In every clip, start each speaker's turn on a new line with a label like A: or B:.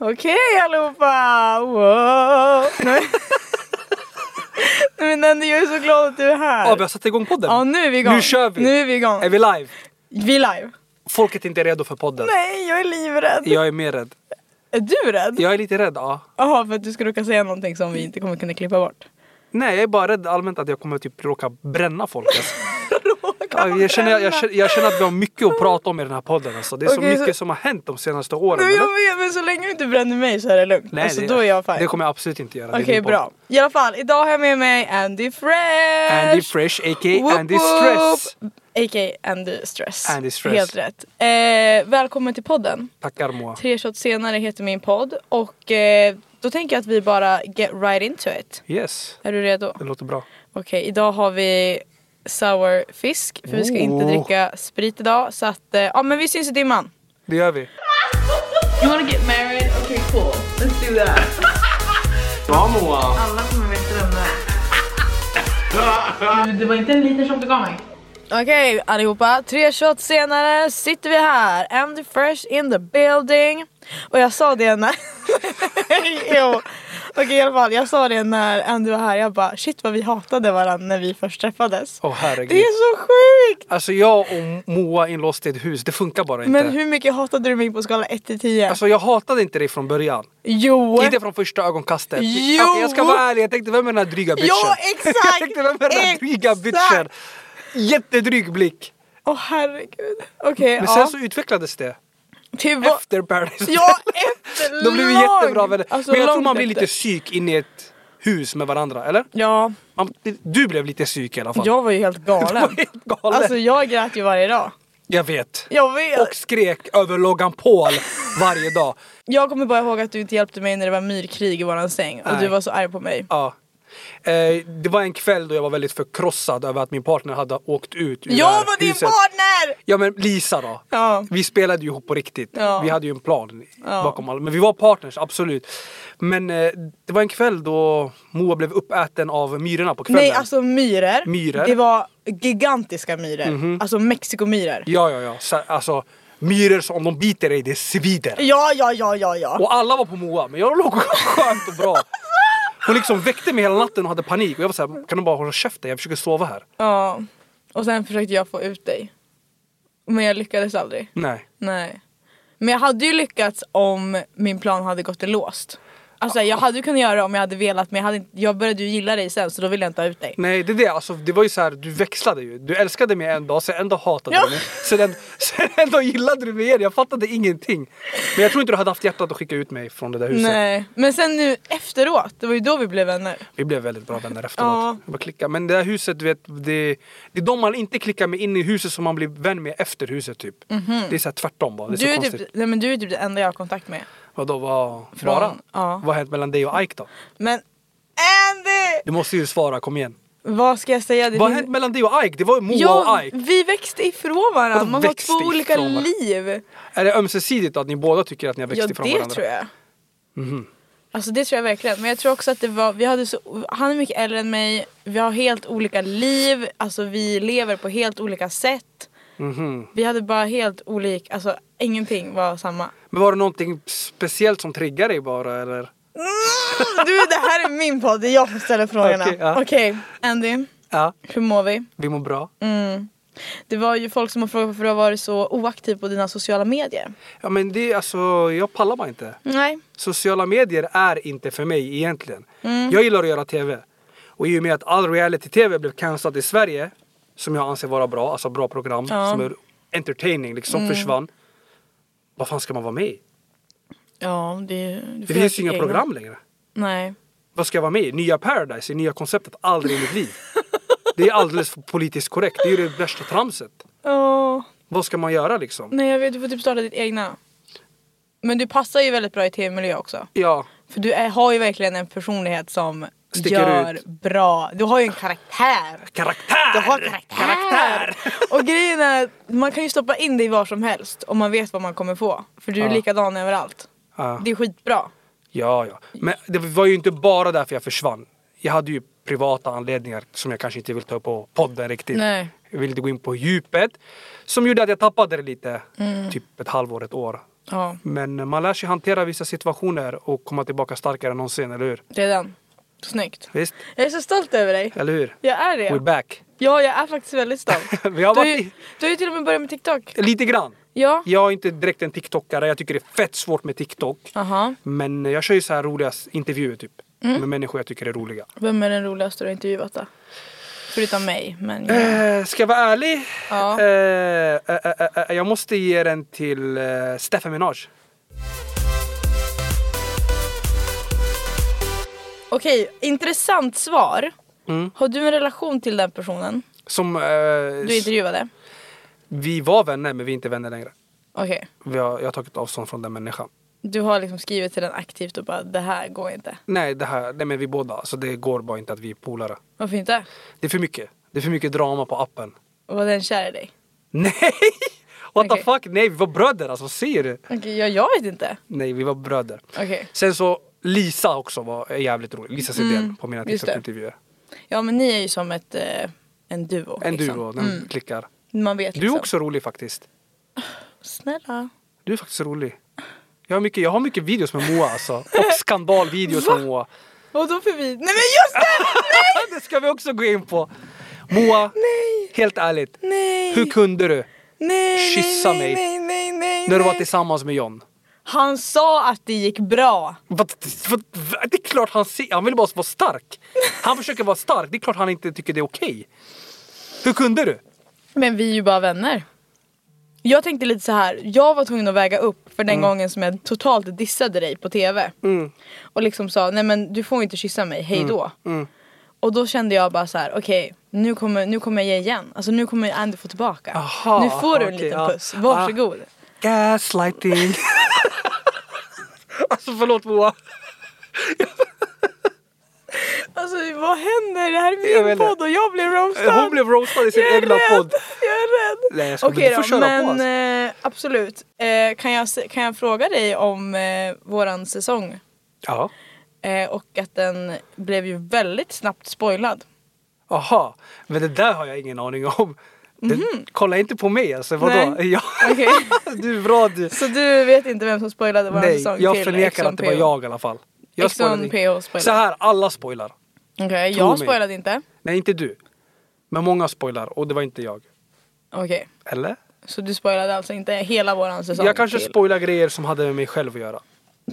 A: Okej allihopa! Wow. Nej. Men Nandy, jag är så glad att du är här.
B: Ja, vi har satt igång podden.
A: Ja, nu är vi igång.
B: Nu kör vi.
A: Nu är vi igång.
B: Är vi live?
A: Vi är live.
B: Folket är inte redo för podden.
A: Nej, jag är livrädd.
B: Jag är mer rädd.
A: Är du rädd?
B: Jag är lite rädd, ja.
A: Jaha, för att du ska råka säga någonting som vi inte kommer kunna klippa bort.
B: Nej, jag är bara rädd allmänt att jag kommer typ råka bränna folk. Alltså. Ja, jag, känner, jag, känner, jag känner att vi har mycket att prata om i den här podden. Alltså. Det är så
A: Okej, så-
B: mycket som har hänt de senaste åren.
A: Men
B: eller?
A: jag vet, men så länge du inte bränner mig så är det lugnt. Nej, alltså,
B: det,
A: då är jag fine.
B: det kommer jag absolut inte göra. Det är
A: Okej,
B: din podd.
A: bra. I alla fall, idag har jag med mig Andy Fresh!
B: Andy Fresh, a.k.a.
A: Whoop,
B: Andy
A: whoop.
B: Stress.
A: A.k.a. Andy Stress.
B: Andy Stress.
A: Helt rätt. Eh, välkommen till podden.
B: Tackar Moa.
A: Tre shots senare heter min podd och eh, då tänker jag att vi bara get right into it.
B: Yes,
A: Är du redo?
B: det
A: Okej,
B: låter bra.
A: idag har vi sour fisk för vi ska inte
B: Oh.
A: dricka sprit idag så att eh, ja men vi syns i dimman.
B: Det gör vi.
A: You wanna get married? Okay cool, let's do that.
B: Bra Moa!
A: Alla kommer veta vem det är. Det var inte en liten shot du gav mig. Okej allihopa, tre shots senare sitter vi här. Andy Fresh in the building. Och jag sa det när... jo. Okej i alla fall, jag sa det när Andy var här. Jag bara shit vad vi hatade varandra när vi först träffades.
B: Åh herregud.
A: Det är så sjukt!
B: Alltså jag och Moa inlåst i ett hus, det funkar bara inte.
A: Men hur mycket hatade du mig på skala 1 till 10?
B: Alltså jag hatade inte dig från början.
A: jo!
B: Inte från första ögonkastet.
A: Jo!
B: Okej, jag ska vara ärlig, jag tänkte vem är den här dryga bitchen?
A: Ja exakt!
B: jag tänkte vem är den här dryga bitchen?
A: Exakt!
B: Jättedryg blick.
A: Åh herregud. Okej,
B: Men
A: ja.
B: sen så utvecklades det.
A: Till vad-
B: Efter Paradise.
A: Ja, efter
B: De blev vi
A: lag.
B: jättebra vänner.
A: Alltså,
B: Men jag tror
A: långt
B: man blir lite
A: efter.
B: psyk in i ett hus med varandra, eller?
A: Ja,
B: Man, du blev lite psyk i alla fall.
A: jag var ju helt
B: var
A: galen.
B: helt galen.
A: Alltså jag grät ju varje dag.
B: Jag vet.
A: Jag vet.
B: Och skrek över Logan Paul varje dag.
A: Jag kommer bara ihåg att du inte hjälpte mig när det var myrkrig i våran säng och
B: Nej.
A: du var så arg på mig.
B: Ja. Eh, det var en kväll då jag var väldigt förkrossad över att min partner hade åkt ut ur det här
A: Jag var din
B: huset.
A: partner!
B: Ja men Lisa då.
A: Ja.
B: Vi spelade ju ihop på riktigt.
A: Ja.
B: Vi hade ju en plan bakom allt. Men vi var partners, absolut. Men eh, det var en kväll då Moa blev uppäten av myrorna på kvällen.
A: Nej alltså myror.
B: Myror.
A: Det var gigantiska myror.
B: Mhm.
A: Alltså mexikomyror.
B: Ja, ja, ja. Så, alltså, myror som om de biter dig, det svider.
A: Ja, ja, ja, ja, ja.
B: Och alla var på Moa, men jag låg skönt och bra. Hon liksom väckte mig hela natten och hade panik. Och jag var såhär, kan du bara hålla käften? Jag försöker sova här.
A: ja. Och sen försökte jag få ut dig. Men jag lyckades aldrig.
B: Nej.
A: Nej. Men jag hade ju lyckats om min plan hade gått i låst. Alltså jag hade ju kunnat göra det om jag hade velat men jag, hade inte, jag började ju gilla dig sen så då ville jag inte ha ut dig.
B: Nej det är det, alltså, det var ju så här, du växlade ju. Du älskade mig en dag, sen en dag hatade
A: Ja.
B: du mig. Sen en, sen en dag gillade du mig igen, jag fattade ingenting. Men jag tror inte du hade haft hjärtat att skicka ut mig från det där huset.
A: Nej. Men sen nu efteråt, det var ju då vi blev vänner.
B: Vi blev väldigt bra vänner efteråt.
A: Ja.
B: Jag bara klickade. Men det där huset, du vet, det, det är de man inte klickar med in i huset som man blir vän med efter huset typ. Det är så här tvärtom bara, det
A: Mhm.
B: är
A: Du
B: så
A: är,
B: konstigt.
A: typ, nej, men du är typ det enda jag har kontakt med.
B: Vadå, vad,
A: Från-
B: bara?
A: ja.
B: Vad har hänt mellan dig och Ike då?
A: Men Andy!
B: Du måste ju svara, kom igen.
A: Vad ska jag säga? Det
B: Vad har
A: finns-
B: hänt mellan dig och Ike? Det var ju Moa
A: ja,
B: och Ike.
A: vi växte ifrån varandra,
B: Vadå
A: man har
B: växte
A: två olika
B: ifrån varandra?
A: liv.
B: Är det ömsesidigt då, att ni båda tycker att ni har växt
A: Ja
B: ifrån
A: det
B: varandra? Mhm.
A: tror jag. Alltså det tror jag verkligen. Men jag tror också att det var, vi hade så, han är mycket äldre än mig, vi har helt olika liv, alltså vi lever på helt olika sätt.
B: Mhm.
A: Vi hade bara helt olika, alltså ingenting var samma.
B: Men var det någonting speciellt som triggade dig bara eller?
A: Du det här är min podd, det är jag som ställer frågorna. Okej
B: Okej, ja.
A: Andy,
B: Ja,
A: hur mår vi?
B: vi mår bra.
A: Mm. Det var ju folk som har frågat varför du har varit så oaktiv på dina sociala medier.
B: Ja men det är alltså, jag pallar bara inte.
A: Nej.
B: Sociala medier är inte för mig egentligen. Jag gillar att göra TV. Och i och med att all reality-TV blev cancellad i Sverige, som jag anser vara bra, alltså bra program
A: Ja.
B: som är entertaining liksom, försvann. Vad fan ska man vara med i?
A: Ja, det... du
B: Det
A: får
B: finns ju
A: göra
B: inga
A: ditt
B: program längre.
A: egna. Nej.
B: Vad ska jag vara med i? Nya Paradise? i Nya konceptet? Aldrig i mitt liv. Det är alldeles för politiskt korrekt. Det är ju det värsta tramset.
A: Åh.
B: Vad ska man göra liksom?
A: Nej jag vet, du får typ starta ditt egna. Men du passar ju väldigt bra i tv-miljö också.
B: Ja,
A: För du är, har ju verkligen en personlighet som
B: Sticker
A: gör
B: ut.
A: bra. Du har ju en karaktär.
B: karaktär!
A: Du har karaktär. Och grejen är att man kan ju stoppa in det i var som helst om man vet vad man kommer få. För du är
B: Ja.
A: likadan överallt.
B: Ja.
A: Det är skitbra.
B: Ja, ja. Men det var ju inte bara därför jag försvann. Jag hade ju privata anledningar som jag kanske inte vill ta upp på podden riktigt.
A: Nej.
B: Jag ville inte gå in på djupet. Som gjorde att jag tappade det lite.
A: Mm.
B: Typ ett halvår, ett år.
A: Ja,
B: Men man lär sig hantera vissa situationer och komma tillbaka starkare än någonsin, eller hur?
A: det är den. Snyggt.
B: Visst?
A: Jag är så stolt över dig.
B: Eller hur?
A: Jag är
B: We're
A: det.
B: back.
A: Ja, jag är faktiskt väldigt stolt.
B: Vi har
A: Du har
B: varit...
A: ju, du har ju till och med börjat med TikTok.
B: Lite grann.
A: Ja.
B: Jag är inte direkt en TikTokare. Jag tycker det är fett svårt med TikTok.
A: Aha.
B: Men jag kör ju så här roliga intervjuer typ.
A: Mm.
B: Med människor jag tycker är roliga.
A: Vem är den roligaste du har intervjuat då? Förutom mig, men...
B: Eh, ska jag vara ärlig?
A: Ja.
B: Eh, eh, eh, eh, jag måste ge den till eh, Stefan Minaj.
A: Okej, intressant svar.
B: Mm.
A: Har du en relation till den personen
B: Som... eh,
A: du intervjuade?
B: Vi var vänner men vi är inte vänner längre.
A: Okej.
B: Vi har, jag har tagit avstånd från den människan.
A: Du har liksom skrivit till den aktivt och bara det här går inte.
B: Nej, det här, nej men vi båda. Så det går bara inte att vi är polare.
A: Varför inte?
B: Det är för mycket. Det är för mycket drama på appen.
A: Var den kär i dig?
B: Nej! What
A: Okej.
B: the fuck? Nej, vi var bröder alltså. Vad säger du?
A: Okej, ja, jag vet inte.
B: Nej, vi var bröder.
A: Okej.
B: Sen så Lisa också var är jävligt rolig. Lisa Sidén på mina
A: Mm, just det.
B: TikTok-intervjuer.
A: Ja men ni är ju som ett, eh, en duo.
B: En
A: liksom.
B: duo, den
A: Mm.
B: klickar.
A: Man vet
B: Du
A: liksom.
B: är också rolig faktiskt.
A: Snälla.
B: Du är faktiskt rolig. Jag har mycket, jag har mycket videos med Moa alltså. Och skandalvideos med Moa.
A: Vadå för vi? Nej men just det!
B: det ska vi också gå in på. Moa, helt ärligt.
A: Nej!
B: Hur kunde du?
A: nej,
B: Kyssa
A: nej,
B: mig.
A: Nej, nej, nej,
B: När du var
A: nej.
B: tillsammans med John.
A: Han sa att det gick bra.
B: Vad- vad- vad- Det är klart han ser, han vill bara vara stark. Han försöker vara stark, det är klart han inte tycker det är okej. Hur kunde du?
A: Men vi är ju bara vänner. Jag tänkte lite så här. jag var tvungen att väga upp för den gången som jag totalt dissade dig på TV. Och liksom sa, nej men du får inte kyssa mig, hej då. Och då kände jag bara så här: okej nu, kommer, nu kommer jag ge igen. Alltså nu kommer jag ändå få tillbaka.
B: Aha,
A: nu får du en
B: okej,
A: liten
B: ja.
A: puss, varsågod.
B: Gaslighting. alltså förlåt Moa.
A: Alltså vad händer? Det här
B: Jag
A: är
B: vet
A: min
B: inte.
A: podd och jag blev roastad.
B: Hon blev roastad i sin
A: jag är
B: egna
A: rädd.
B: podd.
A: Jag är rädd.
B: Nej, jag ska- men
A: Okej
B: du får
A: då,
B: köra på,
A: men
B: alltså.
A: eh, absolut. Eh, kan, jag, se- kan jag fråga dig om eh, våran säsong?
B: Ja.
A: Eh, och att den blev ju väldigt snabbt spoilad.
B: Aha, men det där har jag ingen aning om. Det, Kolla inte på mig alltså, vadå?
A: Mhm. Nej.
B: Ja,
A: Okej.
B: du är bra du.
A: Så du vet inte vem som spoilade våran
B: Nej,
A: säsong
B: jag
A: till
B: förnekar
A: Ex on
B: att det var
A: PH?
B: jag i alla fall. Jag
A: Ex on
B: spoilade
A: PH
B: inte.
A: spoilar.
B: Så här, alla spoilar.
A: Okej,
B: Tro mig.
A: jag spoilade inte.
B: Nej, inte du. Men många spoilar och det var inte jag.
A: Okej,
B: Eller?
A: så du spoilade alltså inte hela våran säsong
B: Jag kanske
A: till.
B: spoilar grejer som hade med mig själv att göra.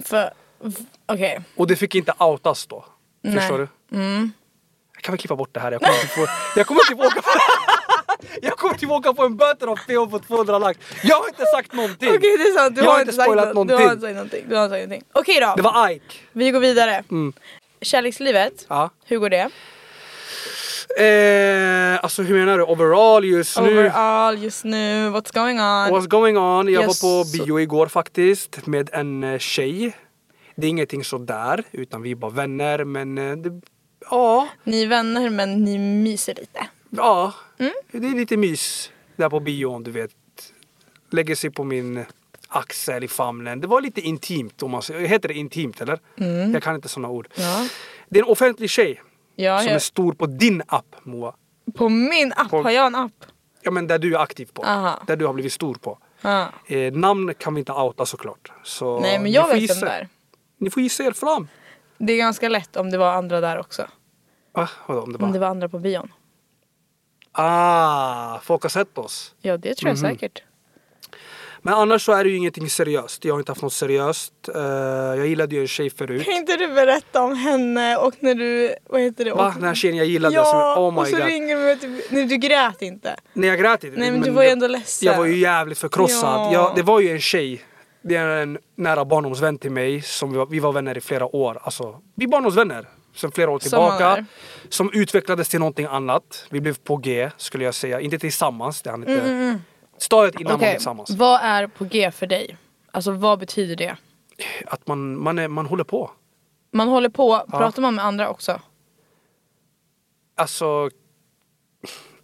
A: För... v- Okej.
B: Och det fick inte outas då.
A: Nej. Mm.
B: Förstår du? Jag kan väl klippa bort det här. Jag kommer typ, få, jag kommer typ åka på... Jag kommer typ åka på en böter av PH på 200 lax. Jag har inte sagt någonting.
A: Okej, det är sant. Du
B: Jag har
A: har
B: inte
A: inte sagt
B: spoilat
A: något. Du har
B: någonting.
A: inte sagt någonting. Du har inte sagt någonting. Okej då.
B: Det var Ike.
A: Vi går vidare.
B: Mm.
A: Kärlekslivet.
B: Ja.
A: Hur går det?
B: Eh, alltså hur menar du? Overall just nu?
A: Overall just nu. What's going on?
B: What's going on? Jag
A: Yes.
B: var på bio igår faktiskt med en eh, tjej. Det är ingenting sådär, utan vi är bara vänner. Men eh, det, ja,
A: Ni är vänner men ni myser lite.
B: ja.
A: Mm.
B: det är lite mys där på bion, du vet. Lägger sig på min axel i famnen. Det var lite intimt. Om man, säger- heter det intimt eller? Jag kan inte sådana ord.
A: Mm. Ja.
B: Det är en offentlig tjej
A: Ja,
B: som
A: jag,
B: är stor på din app, Moa.
A: På min app?
B: På-
A: Har jag en app?
B: Ja, men där du är aktiv på.
A: Aha.
B: Där du har blivit stor på.
A: Ja.
B: Eh, namn kan vi inte outa såklart. Så
A: Nej men
B: ni
A: jag
B: får
A: vet
B: gissa.
A: vem det är.
B: Ni får gissa er fram.
A: Det är ganska lätt om det var andra där också.
B: Va? Ah, Vadå om det bara...
A: Om det var andra på bion.
B: Ah, folk har sett oss.
A: Ja det tror jag
B: Mhm.
A: säkert.
B: Men annars så är det ju ingenting seriöst. Jag har inte haft något seriöst. Eh, jag gillade ju en tjej förut.
A: Kan inte du berätta om henne och när du, vad heter det?
B: Va?
A: Och-
B: Den här tjejen jag gillade
A: Ja,
B: som... Oh
A: och
B: my
A: så
B: god.
A: ringer du mig och typ, nej du grät inte.
B: Nej jag grät inte.
A: Nej men du var ju
B: jag-
A: ändå ledsen.
B: Jag var ju jävligt förkrossad.
A: Ja.
B: Jag, det var ju en tjej. Det är en nära barndomsvän till mig. Som vi, var, vi var vänner i flera år. Alltså, vi är barndomsvänner. Sen flera år
A: Som
B: tillbaka.
A: man är.
B: Som utvecklades till någonting annat. Vi blev på G skulle jag
A: Mm,
B: säga. Inte tillsammans. Det hann inte. Stadiet innan man blev tillsammans.
A: vad är på G för dig? Alltså vad betyder det?
B: Att man, man, är, man håller på.
A: Man håller på,
B: Ja.
A: pratar man med andra också?
B: Alltså...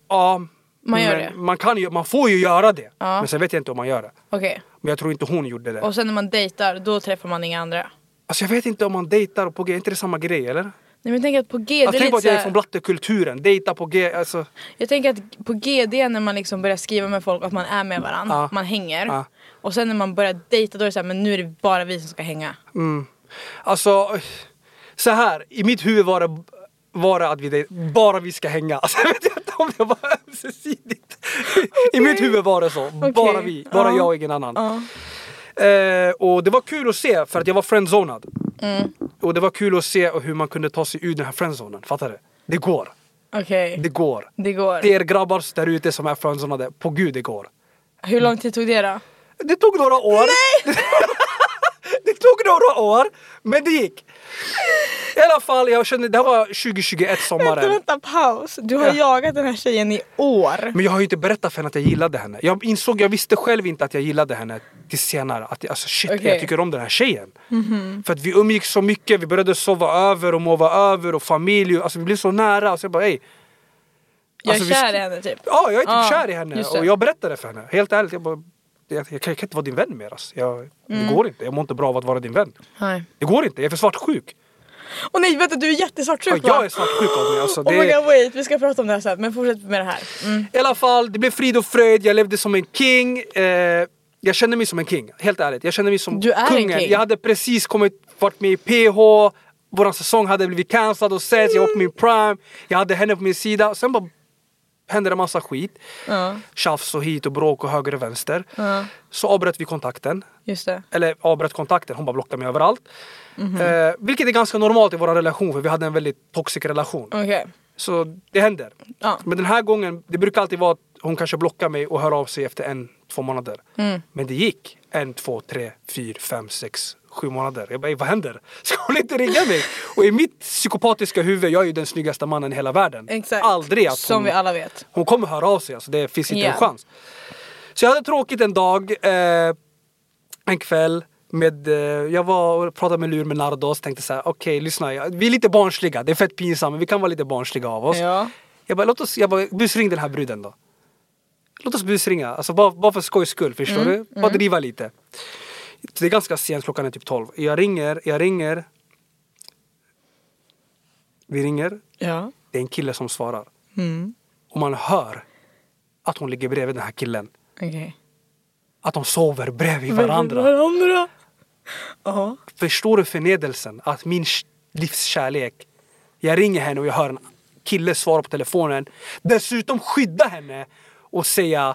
B: Ja.
A: Man gör
B: men
A: det.
B: Man, kan ju, man får ju göra det.
A: Ja.
B: Men sen vet jag inte om man gör det.
A: Okej.
B: Men jag tror inte hon gjorde det.
A: Och sen när man dejtar, då träffar man inga andra?
B: Alltså jag vet inte om man dejtar och på G, är inte det samma grej eller?
A: Nej men jag tänker att på G,
B: Jag
A: det är
B: tänker på
A: lite
B: att jag är
A: såhär,
B: från blattekulturen, dejta på G, alltså.
A: Jag tänker att på GD när man liksom börjar skriva med folk att man är med varandra,
B: Mm. Ja.
A: man hänger.
B: Ja.
A: Och sen när man börjar dejta då är det såhär, men nu är det bara vi som ska hänga.
B: Mm. Alltså, så här, i mitt huvud var det bara att vi dej- bara vi ska hänga. Alltså, jag vet inte om det var ömsesidigt. I mitt huvud var det så. Bara vi, bara
A: Ja.
B: jag och ingen annan.
A: Ja.
B: Eh, och det var kul att se för att jag var friendzonad.
A: Mm.
B: Och det var kul att se hur man kunde ta sig ur den här friendzonen. Fattar du? Det går.
A: Okej,
B: Det går.
A: det går.
B: Det är er grabbar där ute som är friendzonade. På gud det går.
A: Hur lång tid tog det då?
B: Det tog några år. det tog några år, men det gick. I alla fall, jag kände, det här var 2021
A: Vänta,
B: sommaren.
A: vänta, paus. Du har
B: Ja. Mm.
A: jagat den här tjejen i år.
B: Men jag har ju inte berättat för henne att jag gillade henne. Jag insåg, jag visste själv inte att jag gillade henne till senare. Att jag, alltså shit,
A: Okej. Mhm.
B: jag tycker om den här tjejen. För att vi umgicks så mycket, vi började sova över och mova över och familj. och- Alltså vi blev så nära. Alltså, jag bara, ey.
A: Jag
B: Alltså,
A: är
B: vi
A: kär
B: sk-
A: i henne typ.
B: Ja, jag är typ
A: Ja,
B: kär i henne.
A: just det.
B: Och jag berättade för henne. Helt ärligt, jag bara, jag, jag, kan, jag kan inte vara din vän mer. Alltså. Jag,
A: Mm.
B: Det går inte. Jag mår inte bra av att vara din vän.
A: Nej.
B: Det går inte, jag är för svartsjuk.
A: Och nej vänta du är
B: Ja,
A: jättesvartsjuk
B: jag är svartsjuk av mig. Alltså,
A: Oh my
B: det,
A: god wait, vi ska prata om det här sen men fortsätt med det här. Mm.
B: I alla fall, det blev frid och fröjd, jag levde som en king. Eh, jag kände mig som en king, helt ärligt. Jag kände mig som
A: Du är en
B: kungen.
A: king.
B: Jag hade precis kommit, varit med i PH, vår säsong hade blivit cancellad och sett, jag var på min prime. Jag hade henne på min sida. Sen bara hände det massa skit.
A: Ja,
B: Tjafs och hit och bråk och höger och vänster.
A: ja,
B: Så avbröt vi kontakten.
A: just det.
B: eller avbröt kontakten. Hon bara blockade mig överallt.
A: Mhm.
B: Eh, vilket är ganska normalt i vår relation för vi hade en väldigt toxic relation.
A: Okej.
B: Så det händer.
A: Ja.
B: Men den här gången, det brukar alltid vara att hon kanske blockar mig och hör av sig efter en, två månader.
A: Mm.
B: Men det gick en, två, tre, fyra, fem, sex, sju månader. Jag bara, "Ey, vad händer? Ska hon inte ringa mig? och i mitt psykopatiska huvud, jag är ju den snyggaste mannen i hela världen.
A: Exakt.
B: Aldrig att
A: Som
B: hon,
A: vi alla vet.
B: hon kommer höra av sig, alltså det finns inte
A: Ja.
B: en chans. Så jag hade tråkigt en dag, eh, en kväll. Med, eh, jag var och pratade med Lur med Nardos, tänkte så här, okej lyssna, jag- vi är lite barnsliga, det är fett pinsamt men vi kan vara lite barnsliga av oss.
A: Ja.
B: Jag bara, låt oss, jag bara, busring den här bruden då. Låt oss busringa, alltså bara, bara för skojs skull, förstår
A: Mm,
B: du? Bara driva lite. Så det är ganska sent, klockan är typ 12. Jag ringer, jag ringer. Vi ringer,
A: Ja.
B: det är en kille som svarar.
A: Mm.
B: Och man hör att hon ligger bredvid den här killen.
A: Okej.
B: Att de sover bredvid
A: Varandra.
B: varandra.
A: Varandra. Ja.
B: Förstår du förnedelsen? Att min sh- livskärlek, jag ringer henne och jag hör en kille svara på telefonen. Dessutom skydda henne och säga...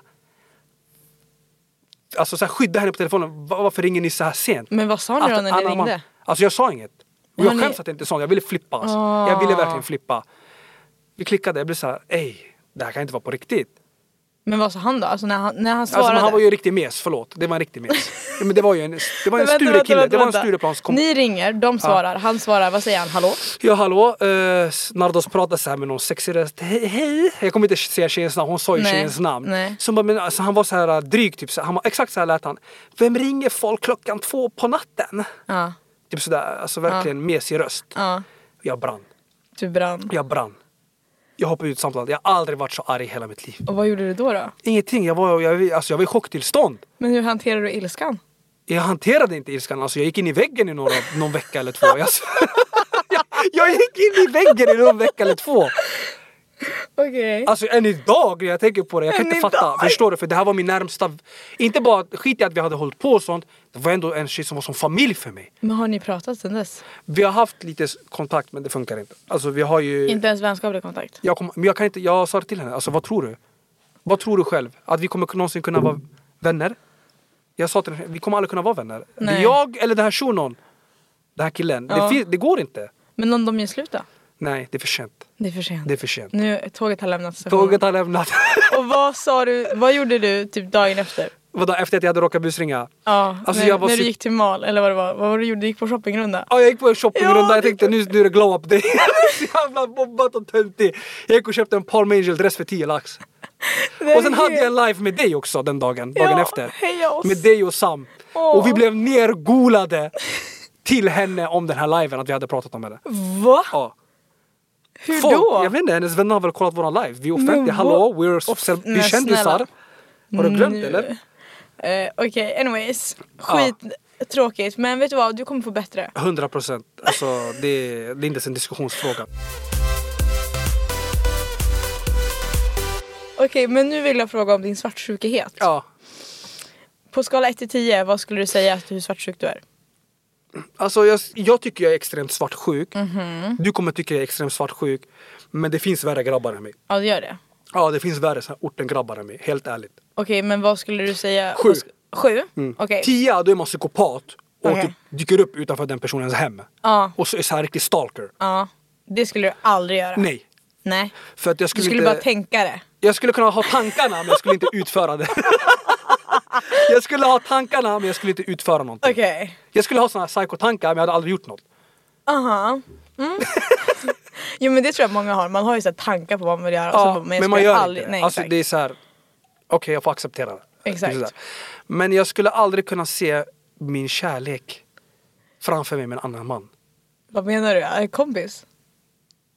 B: Alltså så här, skydda henne på telefonen. Va- Varför ringer ni så här sent?
A: Men vad sa ni då
B: Att
A: när ni
B: Anna man-
A: ringde?
B: Alltså jag sa inget. Och
A: Ja,
B: jag
A: ni-
B: skäms att jag inte sa något. Jag ville flippa. Alltså.
A: Ah.
B: Jag ville verkligen flippa. Vi klickade. Jag blev så här, ej, det här kan inte vara på riktigt.
A: Men vad sa han då? Alltså när han, när han svarade?
B: Alltså, men han var ju en riktig mes, förlåt. Det var en riktig mes. Ja, men det var ju en, det var
A: Men
B: en
A: vänta,
B: Sture
A: vänta,
B: kille.
A: vänta,
B: Det var en
A: vänta.
B: Stureplanskom...
A: Ni ringer, de svarar, han svarar, vad säger han? Hallå?
B: Ja hallå, eh, Nardos pratade så här med någon sexig röst. Hej, hej. Jag kommer inte säga tjejens namn, hon sa ju
A: Nej,
B: tjejens namn.
A: nej.
B: Så hon bara, men, alltså, han var så här eh, dryg typ. Så, han var, exakt så här lät han. Vem ringer folk klockan två på natten?
A: Ja.
B: Typ sådär, alltså verkligen mesig röst.
A: Ja.
B: Jag brann.
A: Du brann.
B: Jag brann. Jag hoppade ut samtalet. Jag har aldrig varit så arg i hela mitt liv.
A: Och vad gjorde du då? då?
B: Ingenting. Jag var, jag, alltså, jag var i chocktillstånd.
A: Men hur hanterade du ilskan?
B: Jag hanterade inte ilskan, alltså jag gick in i väggen i några, någon vecka eller två. Jag, jag, jag gick in i väggen i någon vecka eller två.
A: Okej.
B: Alltså än idag när jag tänker på det, jag kan
A: Än
B: inte fatta.
A: idag.
B: Förstår du? För det här var min närmsta... Inte bara skit i att vi hade hållit på och sånt. Det var ändå en tjej som var som familj för mig.
A: Men har ni pratat sen dess?
B: Vi har haft lite s- kontakt men det funkar inte. Alltså vi har ju...
A: Inte ens vänskaplig kontakt?
B: Jag, kom, men jag, kan inte, jag sa det till henne, alltså vad tror du? Vad tror du själv? Att vi kommer någonsin kunna vara vänner? Jag sa till henne, vi kommer aldrig kunna vara vänner. Det är
A: Nej.
B: jag eller den här shunon, den här killen. Det,
A: Ja.
B: fin- det går inte.
A: Men om de gör slut då?
B: Nej, det är för sent.
A: Det är för sent.
B: Det är för sent.
A: Nu, tåget har lämnat stationen.
B: Tåget har lämnat.
A: Och vad sa du, vad gjorde du typ dagen efter?
B: Vadå, efter att jag hade råkat busringa?
A: Ja,
B: Alltså,
A: när,
B: jag var
A: när du
B: så-
A: gick till mal eller vad det var. Vad var det du gjorde? Du gick på shoppingrunda?
B: Ja, jag gick på en shoppingrunda,
A: Ja,
B: jag
A: det-
B: tänkte nu, nu är det glow up day. Så jävla mobbat och töntig. Jag gick och köpte en Palm Angel-dress för 10 lax. Och sen hade jag en live med dig också den dagen, dagen
A: Ja,
B: efter.
A: heja oss.
B: Med dig och Sam. Och vi blev nergolade till henne om den här liven, att vi hade pratat om henne.
A: Va?
B: Ja.
A: Hur
B: Folk,
A: då?
B: Jag vet inte, hennes vänner har väl kollat våran live. Vi är
A: Men
B: offentliga, hallå, we're
A: Off-
B: s- vi
A: men
B: är kändisar.
A: snälla. Mm.
B: Har du glömt
A: Nu.
B: eller?
A: Eh, Okej, anyways. Skit tråkigt men vet du vad, du kommer få bättre.
B: 100 procent. Alltså, det, är- det är inte ens en diskussionsfråga.
A: Okej men nu vill jag fråga om din svartsjukighet.
B: Ja,
A: På skala 1 till 10, vad skulle du säga att hur svartsjuk du är?
B: Alltså jag, jag tycker jag är extremt svartsjuk.
A: Mhm.
B: Du kommer tycka jag är extremt svartsjuk. Men det finns värre grabbar än mig.
A: Ja det gör det.
B: Ja, det finns värre så här orten-grabbar än mig. Helt ärligt.
A: Okej men vad skulle du säga?
B: Sju. Mm.
A: vad sk- Sju? Okej.
B: Tia, då är man psykopat och
A: Okej.
B: typ dyker upp utanför den personens hem.
A: Ja.
B: Och så är så här riktig stalker.
A: Ja. Det skulle du aldrig göra.
B: Nej.
A: Nej.
B: För att jag
A: Du
B: skulle,
A: skulle
B: inte,
A: bara tänka det.
B: jag skulle kunna ha tankarna men jag skulle inte utföra det. jag skulle ha tankarna men jag skulle inte utföra någonting.
A: Okej.
B: Jag skulle ha såna här psykotankar men jag hade aldrig gjort något.
A: Aha. Mm. jo men det tror jag många har. Man har ju så här tankar på vad man vill göra. och så bara, jag
B: men man
A: skulle
B: gör
A: aldrig...
B: inte det.
A: Nej,
B: alltså,
A: exakt.
B: det är så här, okej jag får acceptera det.
A: Exakt.
B: Det är så där. Men jag skulle aldrig kunna se min kärlek framför mig med en annan man.
A: Vad menar du? Är det kompis?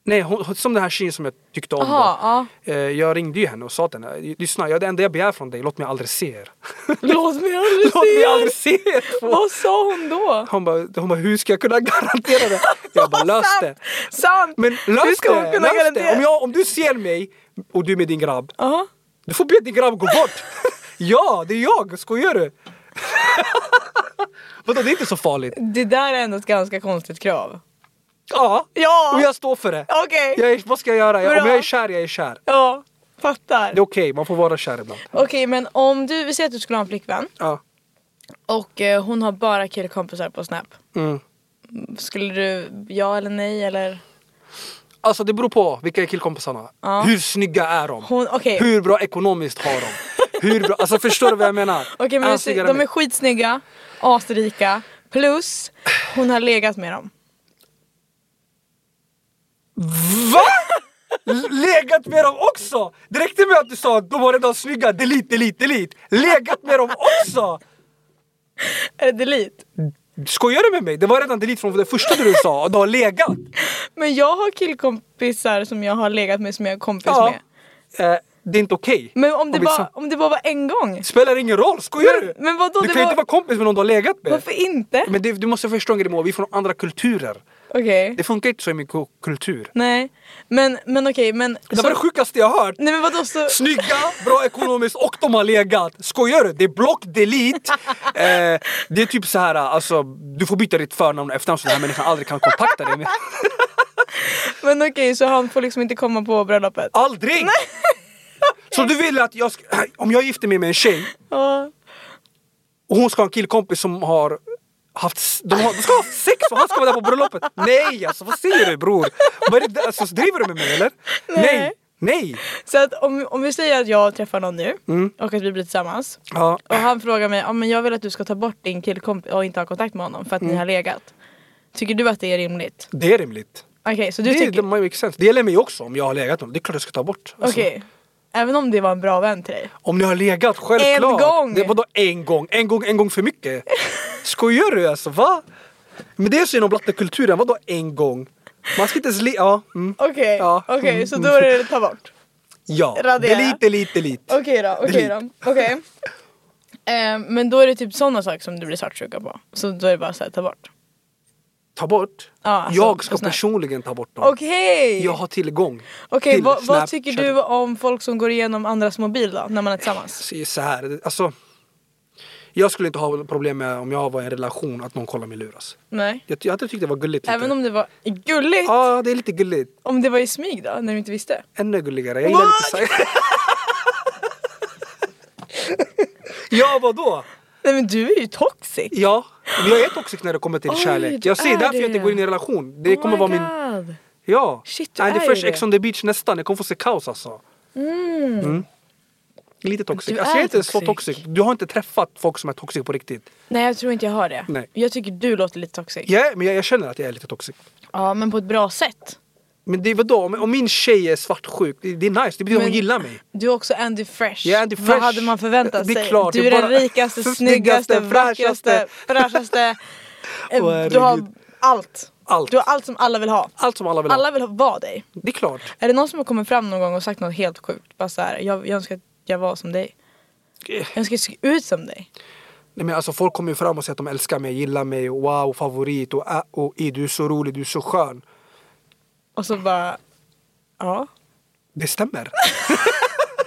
B: Nej, hon, hon- som den här tjejen som jag tyckte om.
A: Aha,
B: då. Eh, Jag ringde ju henne och sa till henne, lyssna, jag, det enda jag begär från dig, låt mig aldrig se er.
A: Låt mig aldrig
B: låt mig
A: se
B: aldrig
A: er!
B: se er två.
A: Vad sa hon då?
B: Hon bara, hon bara, hur ska jag kunna garantera det? Jag bara, lös det.
A: Sant! Sant!
B: Men lös
A: Hur ska
B: det,
A: hon kunna
B: lös
A: garantera?
B: det. Om, jag, om du ser mig och du med din grabb,
A: Ja.
B: Du får be din grabb gå bort! ja, det är jag! Skojar du? Vadå, det är inte så farligt?
A: Det där är ändå ett ganska konstigt krav.
B: Ja,
A: Ja.
B: och jag står för det.
A: Okej!
B: Jag är, vad ska jag göra? Jag, om
A: Bra.
B: jag är kär, jag är kär.
A: Ja, fattar.
B: Det är okej, man får vara kär ibland.
A: Okej men om du, vi säger att du skulle ha en flickvän
B: Ja.
A: och eh, hon har bara killkompisar på snap.
B: Mm.
A: Skulle du, ja eller nej eller?
B: Alltså det beror på vilka är killkompisarna.
A: Ja.
B: Hur snygga är de?
A: Hon, okej.
B: Hur bra ekonomiskt har de? Hur bra, alltså förstår du vad jag menar?
A: Okej men
B: han
A: vi
B: snyggare
A: säger,
B: än
A: de är
B: mig?
A: skitsnygga, asrika, plus hon har legat med dem.
B: Va? Legat med dem också? Det räckte med att du sa att de var redan snygga, delete, delete, delete. Legat med dem också!
A: Är det delete?
B: Skojar du med mig? Det var redan delete från det första du sa och du har legat.
A: Men jag har killkompisar som jag har legat med som jag är kompis
B: Ja.
A: med.
B: Eh, det är inte okej.
A: Men om det,
B: Om vi sam-
A: bara, om det bara var en gång?
B: Spelar ingen roll, skojar du?
A: Men vadå?
B: du
A: det
B: kan ju
A: var,
B: inte vara kompis med någon du har legat med.
A: varför inte?
B: Men det, du måste förstå en grej Moa, vi är från andra kulturer.
A: Okej.
B: Det funkar inte så i min ku- kultur.
A: Nej. Men, men okej men...
B: Det var det sjukaste jag har hört.
A: nej men vadå så...
B: Snygga, bra ekonomiskt och de har legat. Skojar du? Det är block delete. Eh, det är typ så här, alltså du får byta ditt förnamn och efternamn så den här människan aldrig kan kontakta dig. med.
A: Men okej så han får liksom inte komma på bröllopet?
B: Aldrig! Så du vill att jag ska, om jag gifter mig med en tjej
A: Ja.
B: och hon ska ha en killkompis som har haft, s- de, har, de ska ha haft sex och han ska vara där på bröllopet. Nej alltså vad säger du bror? Vad är det, där? alltså, driver du med mig eller? Nej! Nej!
A: Så att om, om vi säger att jag träffar någon nu
B: Mm.
A: och att vi blir tillsammans
B: Ja.
A: och han frågar mig ah, men jag vill att du ska ta bort din killkompis och inte ha kontakt med honom för
B: Mm.
A: att ni har legat. Tycker du att det är rimligt?
B: Det är rimligt.
A: Okej så
B: Det,
A: du
B: är- det,
A: tycker...
B: makes sense. det gäller mig också om jag har legat med honom. Det är klart jag ska ta bort. Alltså,
A: Okej. Även om det var en bra vän till dig?
B: Om ni har legat, självklart!
A: En gång.
B: Det, vadå en gång? En gång, en gång för mycket? Skojar du alltså? Va? Men det är så inom blattekulturen, vadå en gång? Man ska inte ens le... Ja. Mm.
A: Okej,
B: Ja. Mm.
A: okej så då är det ta bort.
B: Ja,
A: Radera.
B: delete, delete, delete.
A: Okej då, okej då. Okej. Eh, men då är det typ sådana saker som du blir svartsjuka på. Så då är det bara såhär, ta bort.
B: Ta bort.
A: Ja, alltså,
B: jag ska
A: på Snap.
B: personligen ta bort dem.
A: Okej!
B: Jag har tillgång.
A: Okej,
B: till
A: vad, vad
B: Snapchat.
A: tycker du om folk som går igenom andras mobil då, när man är tillsammans?
B: Så- Så här, alltså. Jag skulle inte ha problem med om jag var i en relation att någon kollar mig luras.
A: Nej.
B: Jag, jag hade tyckt det var gulligt. lite.
A: Även om det var gulligt,
B: Ja, det är lite gulligt.
A: om det var i smyg då, när du inte visste?
B: Ännu gulligare. Jag gillar lite så här. Ja, vadå?
A: Nej men du är ju toxic!
B: Ja, men jag är toxic när det kommer till
A: Oj,
B: kärlek.
A: du
B: Jag säger
A: är
B: därför jag inte
A: det. Oh
B: går in i en relation. Det kommer
A: my
B: vara min...
A: God.
B: Ja.
A: Shit, du
B: Nej, det
A: är
B: är först
A: ju det.
B: Ex on the beach nästan. Jag kommer få se kaos alltså. Mm. Lite toxic.
A: Du
B: Alltså, jag
A: är
B: är inte ens så
A: toxic.
B: toxic. Du har inte träffat folk som är toxic på riktigt.
A: Nej jag tror inte jag har det.
B: Nej.
A: Jag tycker du låter lite toxic.
B: Jag är, men jag, jag känner att jag är lite toxic.
A: Ja men på ett bra sätt.
B: Men det var då, om, om min tjej är svartsjuk, det, det är nice, det betyder att hon
A: Men-
B: gillar mig.
A: Du är också Andy Fresh.
B: Jag är Andy
A: Vad
B: Fresh.
A: hade man förväntat
B: Det är
A: sig?
B: klart,
A: du
B: det
A: är
B: är
A: den
B: bara-
A: rikaste, snyggaste,
B: snyggaste,
A: vackraste, fräschaste. Eh,
B: Åh,
A: du har
B: herregud.
A: allt.
B: Allt.
A: Du har allt som alla vill ha.
B: Allt som alla vill ha.
A: Alla vill ha, vara dig.
B: Det är klart.
A: Är det någon som har kommit fram någon gång och sagt något helt sjukt? Bara så här, jag, jag önskar att jag var som dig.
B: Eh,
A: Jag önskar att jag såg ut som dig.
B: Nej, men alltså, folk kommer ju fram och säger att de älskar mig, gillar mig, wow, favorit och, ah, och i, du är så rolig, du är så skön.
A: Och så bara, ja.
B: Det stämmer.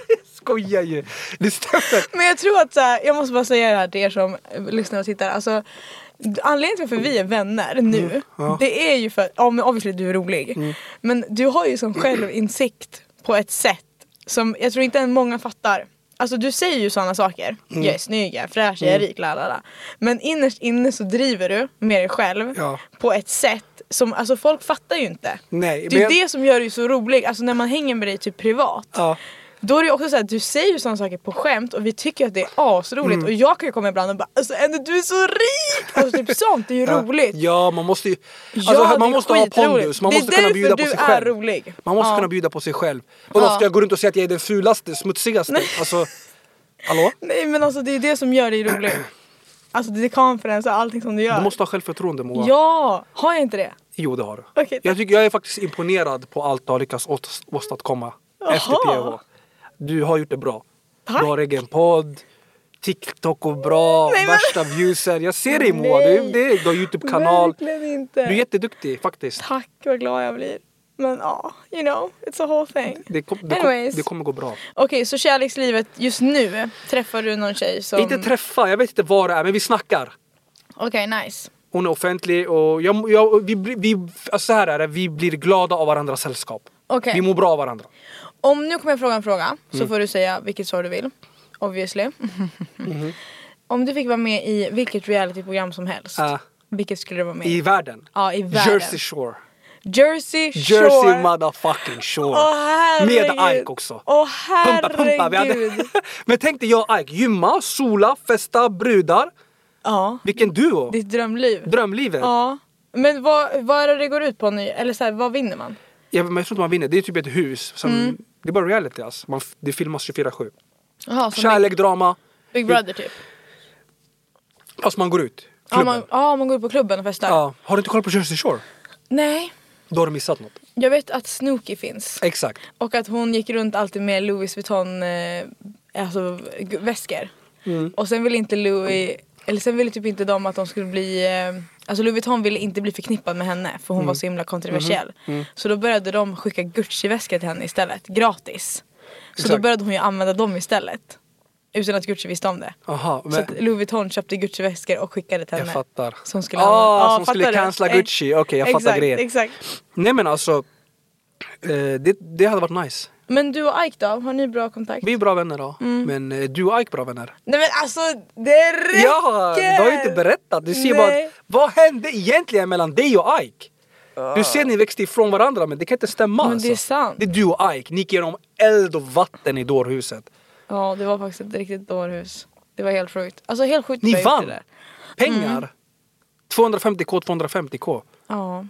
B: jag skojar ju. Det stämmer.
A: Men jag tror att så här, jag måste bara säga det här till er som lyssnar och tittar. Alltså, anledningen till varför vi är vänner nu,
B: Mm, ja. Mm.
A: det är ju för att, ja men obviously du är rolig. Men du har ju som självinsikt på ett sätt som jag tror inte än många fattar. Alltså du säger ju sådana saker.
B: Mm.
A: Jag är snygg, jag är fräsch, jag är rik, la la la. Men innerst inne så driver du med dig själv
B: Ja.
A: på ett sätt som, alltså folk fattar ju inte.
B: Nej,
A: Det är
B: men-
A: det som gör dig så rolig, alltså när man hänger med dig typ privat.
B: Ja.
A: Då är det ju också så att du säger ju sådana saker på skämt och vi tycker att det är asroligt
B: Mm.
A: och jag kan ju komma ibland och bara alltså Andy du är så rik! Alltså typ sånt, det är ju roligt.
B: Ja, man måste ju... Alltså,
A: Ja, det är
B: man måste ha
A: skitroligt.
B: pondus, man
A: Det är
B: måste kunna
A: därför
B: bjuda på
A: du
B: sig
A: är
B: själv.
A: rolig.
B: Man måste
A: Ja.
B: kunna bjuda på sig själv. Vadå,
A: Ja.
B: ska jag gå runt och säga att jag är den fulaste, smutsigaste? Alltså, hallå?
A: Nej men alltså det är det som gör dig rolig. Alltså det är confidence och allting som du gör.
B: Du måste ha självförtroende Moa.
A: Ja! Har jag inte det?
B: Jo det har du.
A: Okej,
B: jag,
A: tack.
B: tycker, jag är faktiskt imponerad på allt du har lyckats åst- åstadkomma efter
A: Jaha.
B: PH. Du har gjort det bra.
A: Tack.
B: Du har egen podd, TikTok går bra,
A: Nej, men-
B: värsta viewsen. Jag ser dig Moa, du,
A: Nej.
B: det, du har Youtube-kanal.
A: Verkligen inte.
B: Du är jätteduktig faktiskt.
A: Tack vad glad jag blir. Men ja, you know, it's a whole thing.
B: Det, kom, det, kom,
A: Anyways.
B: det kommer gå bra.
A: Okej så kärlekslivet just nu, träffar du någon tjej som...
B: Inte träffa, jag vet inte vad det är men vi snackar.
A: Okej nice. Okej
B: Hon är offentlig och jag, jag, vi, blir- vi, alltså så här är det, vi blir glada av varandras sällskap. Vi Mm. mår bra av varandra.
A: Om nu kommer jag fråga en fråga så får du säga vilket svar du vill. Obviously.
B: Mm-hmm.
A: Om du fick vara med i vilket realityprogram som helst.
B: Ah.
A: Vilket skulle du vara med
B: I världen.
A: Ja, i världen.
B: Jersey Shore.
A: Jersey Shore.
B: Jersey motherfucking shore.
A: Åh, herregud.
B: Med Ike också.
A: Åh
B: Pumpa, pumpa. Vi hade...
A: herregud.
B: Men tänk dig jag och Ike, gymma, sola, festa, brudar.
A: Ja,
B: Vilken duo!
A: ditt drömliv.
B: Drömlivet.
A: Ja. Men vad, vad är det det går ut på nu? Eller så här, vad vinner man?
B: Jag, men jag tror inte man vinner, det är typ ett hus. Som,
A: Mm.
B: Det är bara reality alltså. Man, f- det filmas 24-7.
A: Jaha, som
B: Kärlek, drama.
A: Big, Big Brother typ?
B: Fast man går ut.
A: Ja
B: Klubben.
A: man, ja, man går ut på klubben och festar.
B: Ja. Har du inte kollat på Jersey Shore?
A: Nej,
B: Då har du missat något.
A: jag vet att Snooki finns.
B: Exakt.
A: Och att hon gick runt alltid med Louis Vuitton eh, alltså, g- väskor.
B: Mm.
A: Och sen ville inte Louis, eller sen ville typ inte de att de skulle bli, eh, alltså Louis Vuitton ville inte bli förknippad med henne för hon
B: Mm.
A: var så himla kontroversiell.
B: Mm-hmm.
A: Så då började de skicka Gucci-väskor till henne istället, gratis. Så då
B: Exakt.
A: började hon ju använda dem istället. Utan att Gucci visste om det.
B: Aha,
A: Så
B: men
A: att Louis Vuitton köpte Gucci-väskor och skickade till henne.
B: jag fattar.
A: Som skulle,
B: ah,
A: använda- Ja,
B: som skulle
A: fattar du?
B: cancella
A: Eh,
B: Gucci. Okej, jag fattar
A: exakt,
B: grejen.
A: Exakt.
B: Nej men alltså. Eh, det, det hade varit nice.
A: Men du och Ike då, har ni bra kontakt?
B: Vi är bra vänner då.
A: Mm.
B: Men eh, du och Ike är bra vänner.
A: Nej men alltså det räcker!
B: Ja, du har ju inte berättat. Du ser
A: Nej.
B: bara, vad hände egentligen mellan dig och Ike? Du ser ni växte ifrån varandra men det kan inte stämma alltså.
A: Men det är sant.
B: Det är du och Ike, ni gick genom eld och vatten i dårhuset.
A: Ja det var faktiskt ett riktigt dårhus. Det var helt sjukt. Alltså helt sjukt att
B: Ni
A: jag gjort
B: vann!
A: det Mm. där.
B: Pengar! 250k, 250k.
A: Ja.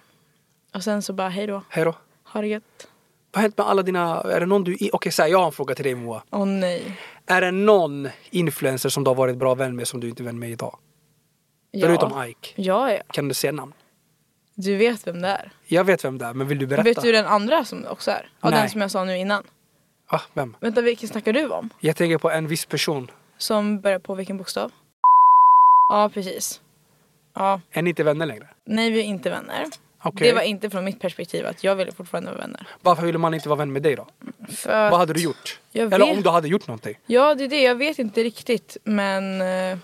A: Och sen så bara hej då.
B: Hej då.
A: Ha det gött. Åh
B: Vad har hänt med alla dina, är det någon du, i- okej så här, jag har en fråga till dig Moa.
A: nej.
B: Är det någon influencer som du har varit bra vän med som du inte är vän med idag?
A: Ja.
B: Förutom Ike.
A: Ja, ja.
B: Kan du säga namn?
A: Du vet vem det är.
B: Jag vet vem det är men vill du berätta?
A: Vet du den andra som också är? Ja,
B: Nej.
A: den som jag sa nu innan.
B: ah, vem?
A: Vänta vilken snackar du om?
B: Jag tänker på en viss person.
A: Som börjar på vilken bokstav? Ja precis. Ja.
B: Är ni inte vänner längre?
A: Nej vi är inte vänner.
B: Okej.
A: Det var inte från mitt perspektiv att jag ville fortfarande vara vänner.
B: Varför ville man inte vara vän med dig då?
A: För
B: Vad hade du gjort?
A: Jag
B: Eller
A: vet-
B: om du hade gjort någonting?
A: Ja, det är det. Jag vet inte riktigt, men... eh,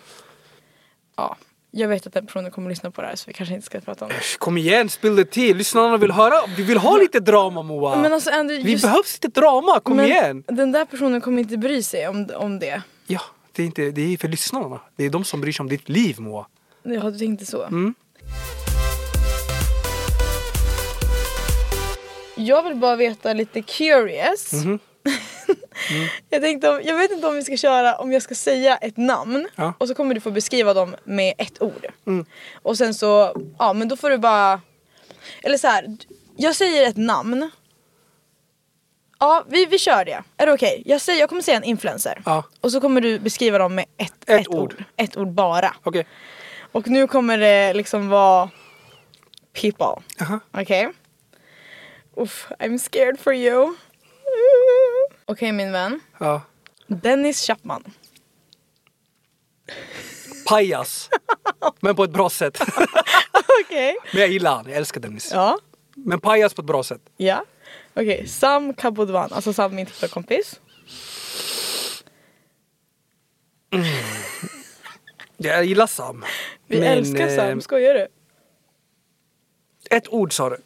A: ja, jag vet att den personen kommer lyssna på det här så vi kanske inte ska prata om det.
B: Kom igen, spill det till! Lyssnarna vill höra, vi vill ha lite drama Moa!
A: Men alltså Andy,
B: Vi
A: just-
B: behövs lite drama, kom
A: men
B: igen!
A: Den där personen kommer inte bry sig om, om det.
B: Ja, det är, inte, det är för lyssnarna. Det är de som bryr sig om ditt liv Moa.
A: Ja, du tänkte så.
B: Mm.
A: Jag vill bara veta lite curious.
B: Mhm.
A: jag, tänkte om, jag vet inte om vi ska köra, om jag ska säga ett namn
B: Ja. Mm.
A: och så kommer du få beskriva dem med ett ord. Och sen så, ja men då får du bara, eller så här, jag säger ett namn. Ja, vi, vi kör det. Är det okej? Jag, säger, jag kommer säga en influencer.
B: Ja.
A: Och så kommer du beskriva dem med ett,
B: Ett
A: ett
B: ord.
A: ord. Ett ord bara.
B: Okej.
A: Och nu kommer det liksom vara people.
B: Jaha.
A: Okej? Uff, I'm scared for you. Okej min vän.
B: Ja.
A: Dennis Chapman.
B: Pajas. Men på ett bra sätt.
A: Okej.
B: Men jag gillar han, jag älskar Dennis.
A: Ja.
B: Men pajas på ett bra sätt.
A: Ja. Okej, Sam Kabodvan. Alltså Sam min TikTok-kompis.
B: Jag gillar Sam.
A: Vi
B: Men,
A: älskar
B: eh,
A: Sam, skojar du?
B: Ett ord sa du.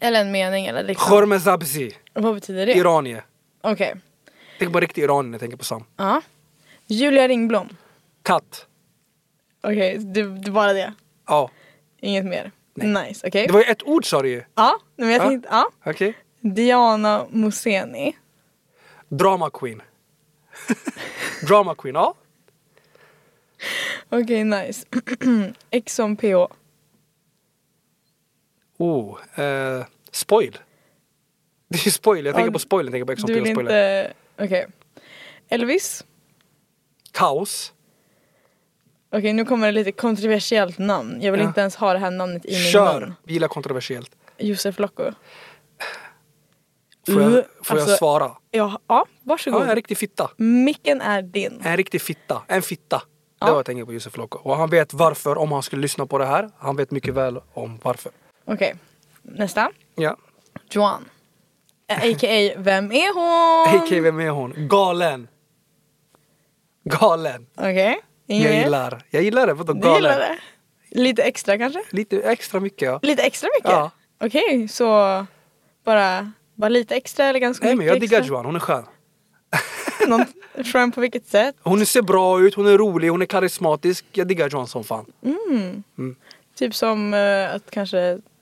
A: Eller en mening eller liksom.
B: Khormezabzi,
A: Vad betyder det?
B: iranier.
A: Okej.
B: Tänk på riktig iranier när jag tänker på Sam.
A: Ja. Julia Ringblom.
B: Katt.
A: Okej, det, det är bara det.
B: Ja.
A: Inget mer.
B: Nej.
A: Nice, okej.
B: Det var ju ett ord sa du ju.
A: Ja, nej, men jag
B: Ja.
A: tänkte, ja.
B: Okej.
A: Diana Moseni.
B: Drama queen. Drama queen, ja.
A: Okej, nice. Exxon PH.
B: Oh, eh, spoil. Det är ju spoil, jag tänker
A: Ja,
B: på spoil, jag tänker på Ex on
A: Du vill
B: Peel spoiler.
A: inte... Okej. Elvis.
B: Kaos.
A: Okej, nu kommer det lite kontroversiellt namn. Jag vill
B: Ja.
A: inte ens ha det här namnet i min mun.
B: Kör. Vi gillar kontroversiellt.
A: Josef Locko.
B: Får jag,
A: Uh,
B: får jag
A: alltså-
B: svara?
A: Ja, ja
B: Ja,
A: varsågod.
B: en riktig fitta.
A: Micken är din.
B: En riktig fitta. En fitta.
A: Ja.
B: Det var jag tänker på Josef Locko. Och han vet varför om han skulle lyssna på det här. Han vet mycket väl om varför.
A: Okej, nästa.
B: Ja.
A: Joan. Eh, A.k.a. Vem är hon?
B: Hej vem är hon? Galen. Galen.
A: Okej, inget
B: Jag
A: mer?
B: gillar. Jag gillar det. Vadå
A: Du
B: galen?
A: gillar det? Lite extra kanske?
B: Lite extra mycket ja.
A: Lite extra mycket?
B: Ja.
A: Okej, så bara, bara lite extra eller ganska
B: Nej men
A: mycket
B: jag diggar
A: extra?
B: Johan, hon är skön.
A: Någon, skön på vilket sätt?
B: Hon ser bra ut, hon är rolig, hon är karismatisk. Jag diggar Johan som fan.
A: Typ som eh, att kanske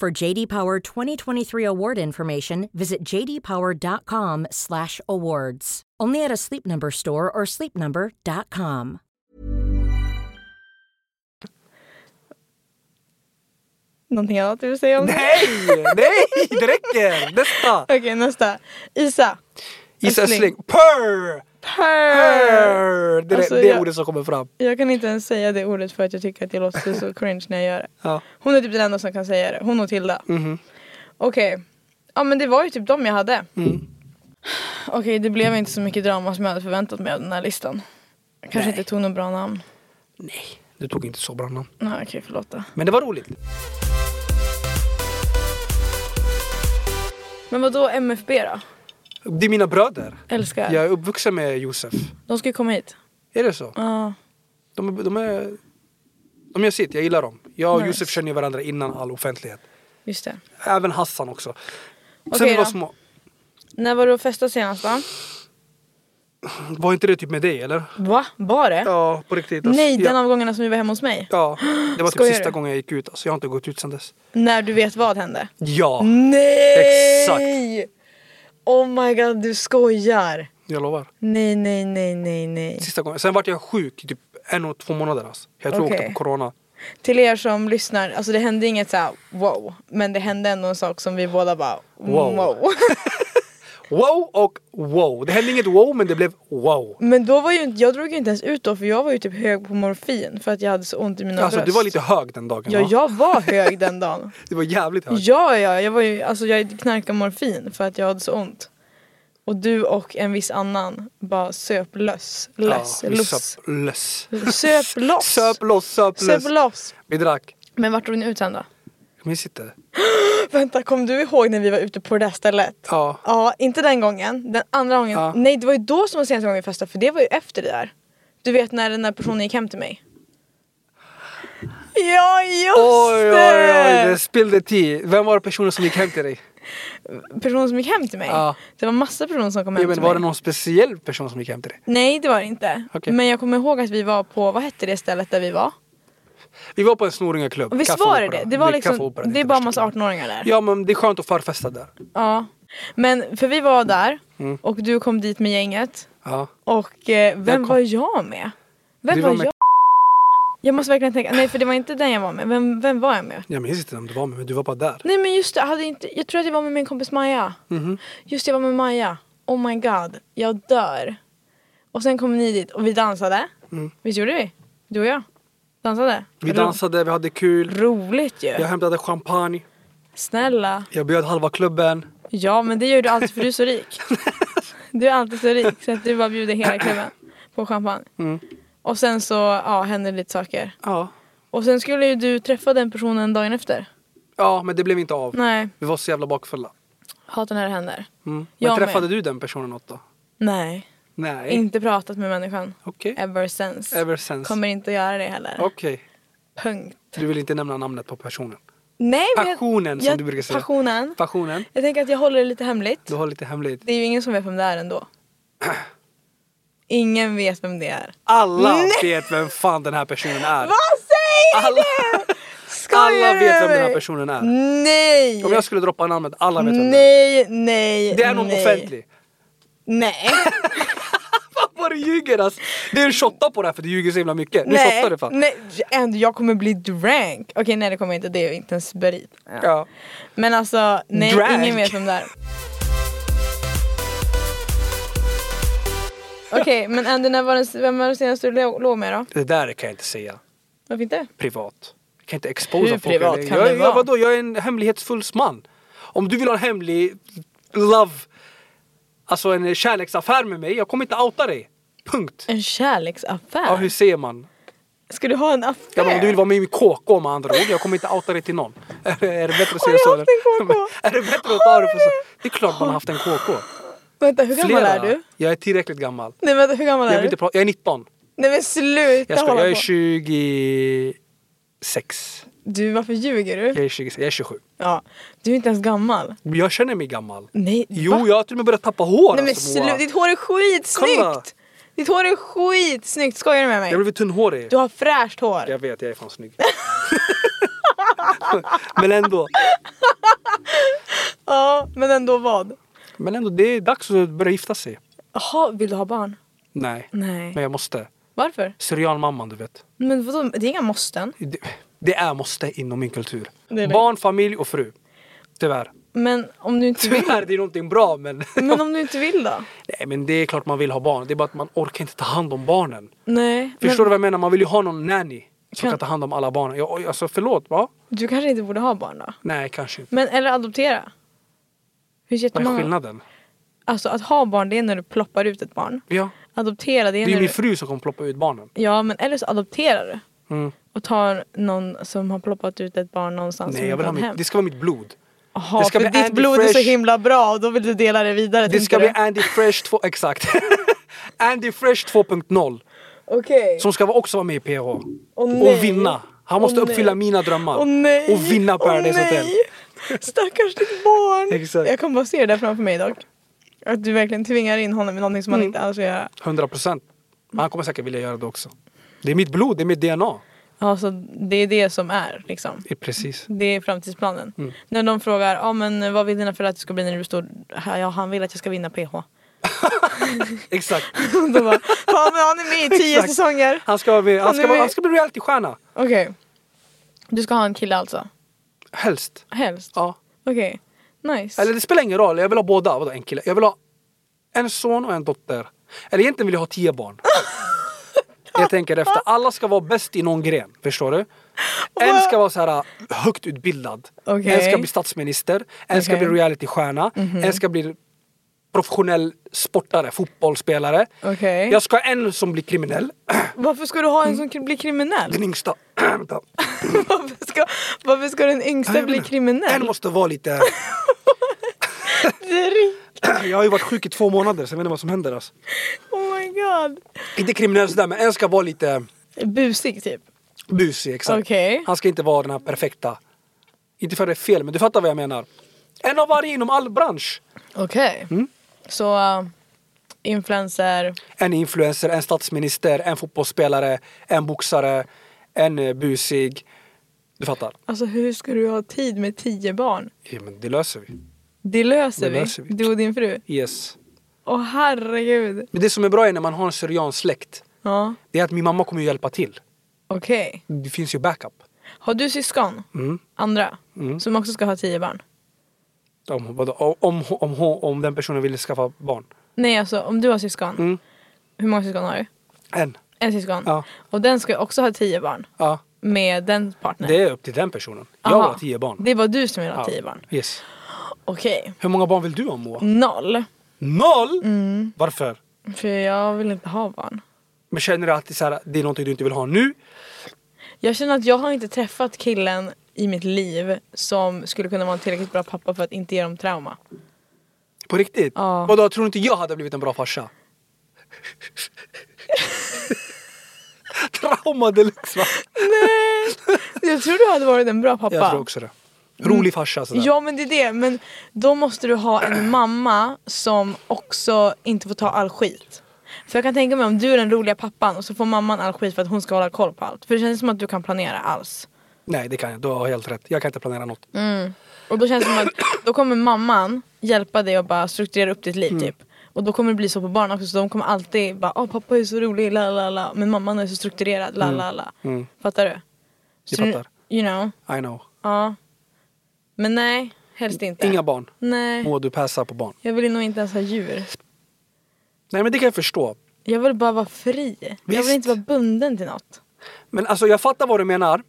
C: For JD Power 2023 award information, visit jdpower.com/awards. Only at a Sleep Number store or sleepnumber.com.
A: Någonting annat du vill säga om det?
B: Nej! Nej! Det räcker! Nästa!
A: Okej, nästa. Isa.
B: Isa
A: Essling.
B: Sling. Purr!
A: Purr.
B: Purr! Det är
A: Alltså,
B: det
A: jag-
B: ordet som kommer fram.
A: Jag kan inte ens säga det ordet för att jag tycker att jag låter så cringe när jag gör det.
B: Ja. Mhm.
A: Hon är typ den enda som kan säga det. Hon och Tilda. Okej. Ja men det var ju typ de jag hade.
B: Mm.
A: Okej det blev inte så mycket drama som jag hade förväntat mig av den här listan. Jag kanske inte tog något bra namn.
B: Nej, du tog inte så bra namn.
A: Nej okej förlåt då.
B: Men det var roligt.
A: Men vad då MFB då?
B: Det är mina bröder.
A: Älskar.
B: Jag är uppvuxen med Josef.
A: De ska ju komma hit.
B: Är det så?
A: Ja.
B: De, är- de är... De gör sitt, jag gillar dem. Jag och
A: Nice.
B: Josef känner ju varandra innan all offentlighet.
A: just det.
B: Även Hassan också. Sen
A: Okej
B: vi var
A: då.
B: små.
A: När var du och festade senast då?
B: Var inte det typ med dig eller?
A: Va? Var det?
B: Ja, på riktigt. alltså.
A: Nej den
B: ja.
A: av gångerna som vi var hemma hos mig.
B: ja, det var typ
A: Skojar
B: sista
A: du?
B: gången jag gick ut. Alltså, jag har inte gått ut sen dess.
A: När du vet vad hände.
B: Ja,
A: Nej! Exakt. Oh my god du skojar.
B: jag lovar.
A: Nej nej nej nej nej.
B: Sista gången. Sen vart jag sjuk i typ en och två månader. Alltså. Jag tror jag åkte
A: Okej.
B: på corona.
A: Till er som lyssnar, alltså det hände inget så här mm, wow, men det hände ändå en sak som vi båda bara
B: Wow.
A: wow.
B: Wow och wow. Det hände inget wow men det blev wow.
A: Men då var ju inte, jag drog ju inte ens ut då för jag var ju typ hög på morfin för att jag hade så ont i mina
B: Alltså
A: bröst.
B: du var lite hög den dagen
A: Ja
B: va?
A: jag var hög den dagen.
B: Du var jävligt hög.
A: Ja, ja, jag var ju, alltså jag knarkade morfin för att jag hade så ont. Och du och en viss annan bara söp löss, löss,
B: Ja, vi
A: loss.
B: söp löss.
A: Söp loss.
B: Söp loss, söp
A: Söp
B: löss.
A: loss.
B: Vi drack.
A: Men vart tog ni ut sen då?
B: Jag minns inte.
A: Vänta, kom du ihåg när vi var ute på det där stället?
B: Ja.
A: Ja, inte den gången. Den andra gången.
B: Ja.
A: Nej, det var ju då som var senaste gången vi festade för det var ju efter det där. Du vet när den där personen gick hem till mig. Ja, just
B: Oj, oj,
A: det!
B: oj. Det spillde tid. Vem var det personen som gick hem till dig?
A: Personen som gick hem till mig.
B: Ja.
A: Det var massa personer som kom hem
B: Ja, men
A: till
B: var
A: mig.
B: det någon speciell person som gick hem till dig?
A: Nej det var det inte.
B: Okej.
A: Men jag kommer ihåg att vi var på, vad hette det stället där vi var?
B: Vi var på en snorungarklubb.
A: Och visst
B: Kaffe
A: var det
B: Opera.
A: det? Det var
B: är Kaffe
A: liksom,
B: Opera,
A: det är
B: inte
A: bara
B: värsta
A: massa
B: klubben.
A: 18-åringar där.
B: Ja men det är skönt att förfesta där.
A: Ja. Men för vi var där
B: Mm.
A: och du kom dit med gänget.
B: Ja.
A: Och eh, vem
B: Jag kom-
A: var jag med? Vem
B: Du
A: var,
B: var med-
A: jag? Jag måste verkligen tänka, nej för det var inte den jag var med. Vem, vem var jag med?
B: Jag minns inte om du var med men du var bara där.
A: Nej men just det, jag, hade inte, jag tror att jag var med min kompis Maja.
B: Mhm.
A: Just det, jag var med Maja. Oh my god, jag dör. Och sen kom ni dit och vi dansade. Visst gjorde vi? Du och jag. Dansade.
B: Mm. Vi
A: Ro-
B: dansade, vi hade kul.
A: Roligt ju.
B: Jag hämtade champagne.
A: Snälla.
B: Jag bjöd halva klubben.
A: Ja men det gör du alltid för du är så rik. Du är alltid så rik så att du bara bjuder hela klubben på champagne.
B: Mm.
A: Och sen så ja, händer lite saker.
B: Ja.
A: Och sen skulle ju du träffa den personen dagen efter.
B: Ja men det blev inte av.
A: Nej,
B: Vi var så jävla bakfulla.
A: hatar när det händer.
B: Mm. Men
A: Jag
B: träffade
A: med.
B: du den personen något då?
A: Nej,
B: Nej.
A: inte pratat med människan.
B: Okej.
A: Ever since.
B: Ever since.
A: Kommer inte att göra det heller.
B: Okej.
A: Punkt.
B: Du vill inte nämna namnet på personen.
A: Nej, men jag-
B: Passionen som
A: jag,
B: du brukar säga.
A: Passionen.
B: Passionen.
A: Jag tänker att jag håller det lite hemligt.
B: Du har lite hemligt.
A: Det är ju ingen som vet vem det är ändå. Ingen vet vem det är.
B: Alla vet vem fan den här personen är.
A: Vad säger
B: Alla,
A: Skojar
B: alla
A: du med
B: vet vem den här
A: mig?
B: personen är.
A: Nej!
B: Om jag skulle droppa namnet, alla vet vem det
A: nej,
B: är.
A: nej,
B: Det är någon
A: nej.
B: offentlig.
A: Nej.
B: Fan vad du ljuger alltså. Det är en shotta på det här för du ljuger så himla mycket. Nu
A: nej.
B: shottar du fan.
A: nej. And jag kommer bli drank. Okej nej det kommer jag inte, det är ju inte ens berit.
B: Ja.
A: Men alltså, nej
B: Drank.
A: ingen vet vem det är. Okej men Andy, när var den, vem var den senaste du lå- låg med då?
B: Det där kan jag inte säga
A: Varför inte?
B: privat. Jag kan inte exposa
A: Hur
B: folk.
A: privat
B: jag,
A: kan
B: jag,
A: det vara?
B: jag, vadå, jag är en hemlighetsfullsman. Om du vill ha en hemlig love, alltså en kärleksaffär med mig, jag kommer inte outa dig. Punkt.
A: En kärleksaffär?
B: Ja, hur säger man?
A: Ska du ha en
B: Ja,
A: affär?
B: men om du vill vara med i min KK med andra ord, jag kommer inte outa dig till någon. Är, det- är det bättre att
A: Har
B: säga
A: du
B: så?
A: haft en KK?
B: Är det bättre att ta det på så? Det är klart man har haft en KK.
A: Vänta, hur gammal är du?
B: Jag är tillräckligt gammal.
A: Nej vänta, hur gammal
B: Jag,
A: är
B: vill
A: du?
B: inte prata, jag är 19.
A: Nej men sluta
B: Jag, ska,
A: hålla
B: jag är
A: på.
B: 26.
A: Du varför ljuger du?
B: Jag är, 26, jag är 27.
A: Ja. Du är inte ens gammal.
B: Men Jag känner mig gammal.
A: Nej,
B: Jo,
A: Mm. va?
B: jag har till och med börjat tappa hår.
A: Nej men
B: alltså, Moa.
A: sluta, ditt hår är skitsnyggt!
B: Kolla.
A: Ditt hår är skitsnyggt, skojar du med
B: Jag
A: mig?
B: blev tunnhårig.
A: Du har fräscht hår.
B: Jag vet, jag är fan snygg. men ändå.
A: Ja, men ändå vad?
B: Men ändå, det är dags att börja gifta sig.
A: Jaha, vill du ha barn?
B: Nej.
A: Nej.
B: Men jag måste.
A: Varför?
B: Syrianmamman, du vet.
A: Men vadå, det är inga måsten.
B: Det, det är måste inom min kultur.
A: Det är det.
B: Barn, familj och fru. Tyvärr.
A: Men om du inte vill,
B: Tyvärr, det är någonting bra men...
A: men om du inte vill då?
B: Nej men det är klart man vill ha barn. Det är bara att man orkar inte ta hand om barnen.
A: Nej, men
B: Förstår du vad jag menar? Man vill ju ha någon nanny som
A: Kan-
B: kan, ta hand om alla barnen. Jag, oj, alltså förlåt, va?
A: du kanske inte borde ha barn då?
B: Nej, kanske inte.
A: Men eller adoptera? Det finns
B: Vad är
A: jättemånga.
B: skillnaden?
A: Alltså att ha barn det är när du ploppar ut ett barn.
B: Ja.
A: Adoptera det
B: Det
A: är
B: är ju
A: när
B: min
A: du...
B: fru som kommer ploppa ut barnen.
A: Ja men eller så adopterar du.
B: Mm.
A: Och tar någon som har ploppat ut ett barn någonstans.
B: Nej,
A: som
B: jag
A: inte
B: vill ha
A: har ett hem.
B: mitt, det ska vara mitt blod.
A: Jaha,
B: Det ska
A: för
B: bli
A: ditt
B: Andy
A: blod är så
B: Fresh.
A: himla bra och då vill du dela det vidare
B: Det ska
A: tänkte
B: bli
A: du?
B: Andy Fresh 2, exakt. Andy Fresh 2.0
A: Okej.
B: som ska vara- också vara med i PH.
A: nej.
B: och vinna. Han måste
A: Åh, nej.
B: uppfylla mina drömmar.
A: Åh nej!
B: Och vinna
A: Åh,
B: Paradise Hotel.
A: nej. Stackars ditt barn!
B: Exakt.
A: Jag kommer bara se det där framför mig dock. Att du verkligen tvingar in honom i någonting
B: Mm.
A: som han inte alls vill göra.
B: 100 procent. Han kommer säkert vilja göra det också. Det är mitt blod, det är mitt DNA.
A: Alltså det är det som är liksom.
B: Det är precis.
A: Det är framtidsplanen.
B: Mm.
A: När de frågar ah, men, vad vill dina föräldrar att du ska bli när du blir stor? Ja, han vill att jag ska vinna PH.
B: Exakt.
A: De bara, "Ja, men han är med i tio
B: Exakt.
A: säsonger.
B: Han ska, vara med, han
A: Han är
B: ska, vara-
A: med.
B: han ska bli realitystjärna.
A: Okej. Du ska ha en kille alltså?
B: Helst.
A: Helst?
B: Ja.
A: Okej. Nice.
B: Eller det spelar ingen roll, jag vill ha båda. Vadå en kille? Jag vill ha en son och en dotter. Eller egentligen vill jag ha tio barn. jag tänker efter. Alla ska vara bäst i någon gren. Förstår du? En ska vara så här äh, högt utbildad.
A: Okej.
B: En ska bli statsminister. En ska
A: Okej. Mhm.
B: bli realitystjärna. En ska bli professionell sportare, fotbollsspelare.
A: Okej.
B: Jag ska ha en som blir kriminell.
A: Varför ska du ha en som kan bli kriminell?
B: Den yngsta. Vänta.
A: Varför ska, varför ska den yngsta bli
B: Den
A: kriminell?
B: måste vara lite...
A: Det är ri-
B: Alltså, Jag har ju varit sjuk i två månader så jag vet inte vad som händer alltså.
A: Oh my god.
B: Inte kriminell sådär men en ska vara lite...
A: Busig typ.
B: Busig, exakt.
A: Okej.
B: Han ska inte vara den här perfekta. Inte för att det är fel, men du fattar vad jag menar. En av varje inom all bransch.
A: Okej.
B: Mm.
A: Så uh, influencer.
B: En influencer, en statsminister, en fotbollsspelare, en boxare, en eh, busig. Du fattar?
A: Alltså hur ska du ha tid med tio barn?
B: Ja, men det löser vi.
A: Det löser,
B: Det löser
A: vi.
B: vi.
A: Du och din fru.
B: Yes.
A: Åh herregud.
B: Men det som är bra är när man har en syriansk släkt,
A: Ja.
B: det är att min mamma kommer ju hjälpa till.
A: Okej.
B: Det finns ju backup.
A: Har du syskon?
B: Mm.
A: Andra? Som också ska ha tio barn?
B: Om, vadå? om, om, om, om den personen vill skaffa barn.
A: Nej alltså om du har syskon.
B: Mm.
A: Hur många syskon har du?
B: En.
A: En syskon?
B: Ja.
A: Och den ska också ha tio barn.
B: Ja.
A: Med den partnern?
B: Det är upp till den personen. Jag
A: Aha.
B: har tio barn.
A: Det är bara du som vill ha
B: Ja.
A: tio barn? Mm.
B: Yes.
A: Okej.
B: Hur många barn vill du ha Moa?
A: Noll.
B: Noll?
A: Mm.
B: Varför?
A: För jag vill inte ha barn.
B: Men känner du att det är, så här, det är någonting du inte vill ha nu?
A: Jag känner att jag har inte träffat killen i mitt liv som skulle kunna vara en tillräckligt bra pappa för att inte ge dem trauma.
B: På riktigt?
A: Ja.
B: Vadå, tror du inte jag hade blivit en bra farsa? Trauma deluxe va?
A: Jag tror du hade varit en bra pappa. Mm.
B: Jag tror också det. Rolig farsa sådär.
A: Ja men det är det, men då måste du ha en mamma som också inte får ta all skit. För jag kan tänka mig om du är den roliga pappan och så får mamman all skit för att hon ska hålla koll på allt. För det känns som att du kan planera alls.
B: Nej det kan jag, du har helt rätt. Jag kan inte planera något.
A: Mm. Och då känns det som att då kommer mamman hjälpa dig och bara strukturera upp ditt liv
B: Mm.
A: typ. Och då kommer det bli så på barn också så de kommer alltid bara åh pappa är så rolig, la la la. Men mamman är så strukturerad, la la la. Fattar du? Så nu-
B: Mm. fattar.
A: You know,
B: I know.
A: ja. Men nej, helst inte.
B: Inga barn.
A: Nej.
B: Må du passa på barn.
A: Jag vill nog inte ens ha djur.
B: Nej men det kan jag förstå.
A: Jag vill bara vara fri. Jag
B: Visst.
A: vill inte vara bunden till något.
B: Men alltså jag fattar vad du menar.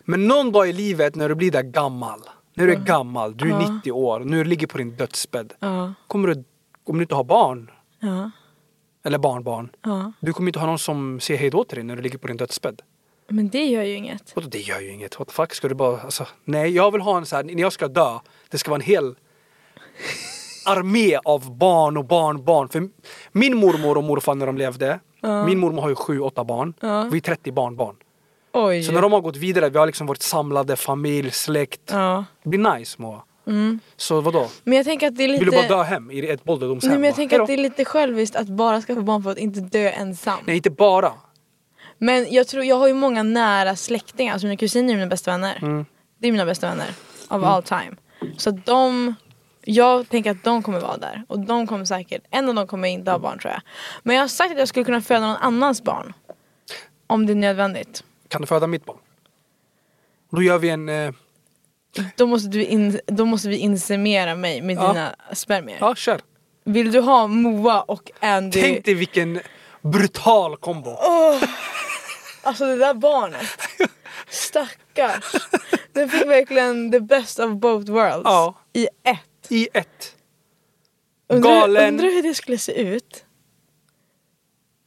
B: Men någon dag i livet när du blir där gammal. När du är gammal, du är 90 år, nu ligger på din dödsbädd.
A: Ja.
B: Kommer du, om du inte har barn,
A: Ja.
B: eller barnbarn.
A: Ja.
B: Du kommer inte ha någon som säger hej då till dig när du ligger på din dödsbädd.
A: Men det gör ju inget.
B: Och det gör ju inget. What the fuck ska du bara... Alltså, nej, jag vill ha en så här, när jag ska dö, det ska vara en hel armé av barn och barnbarn. För min mormor och morfar när de levde, min mormor har ju sju, åtta barn. Vi är 30 barnbarn.
A: Oj.
B: Så när de har gått vidare, vi har liksom varit samlade, familj, släkt.
A: Ja.
B: Det blir nice Moa. Så vadå?
A: Men jag tänker att det är lite...
B: Vill du bara dö hem i ett ålderdomshem?
A: Nej, men jag
B: Bara,
A: tänker
B: hejdå.
A: att det är lite själviskt att bara skaffa barn för att inte dö ensam.
B: Nej, inte bara.
A: Men jag tror, jag har ju många nära släktingar, alltså mina kusiner är mina bästa vänner.
B: Mm.
A: Det är mina bästa vänner of all time. Så att de, jag tänker att de kommer vara där. Och de kommer säkert, en av dem kommer inte ha barn tror jag. Men jag har sagt att jag skulle kunna föda någon annans barn. Om det är nödvändigt.
B: Kan du föda mitt barn? Då gör vi en... Eh,
A: Då måste, du in, då måste vi inseminera mig med
B: Ja.
A: dina spermier.
B: Ja, kör.
A: Vill du ha Moa och Andy?
B: Tänk dig vilken brutal kombo.
A: Alltså det där barnet. Stackars. Den fick verkligen the best of both worlds.
B: Ja.
A: I ett.
B: I ett.
A: Undrar,
B: Galen.
A: undrar hur det skulle se ut.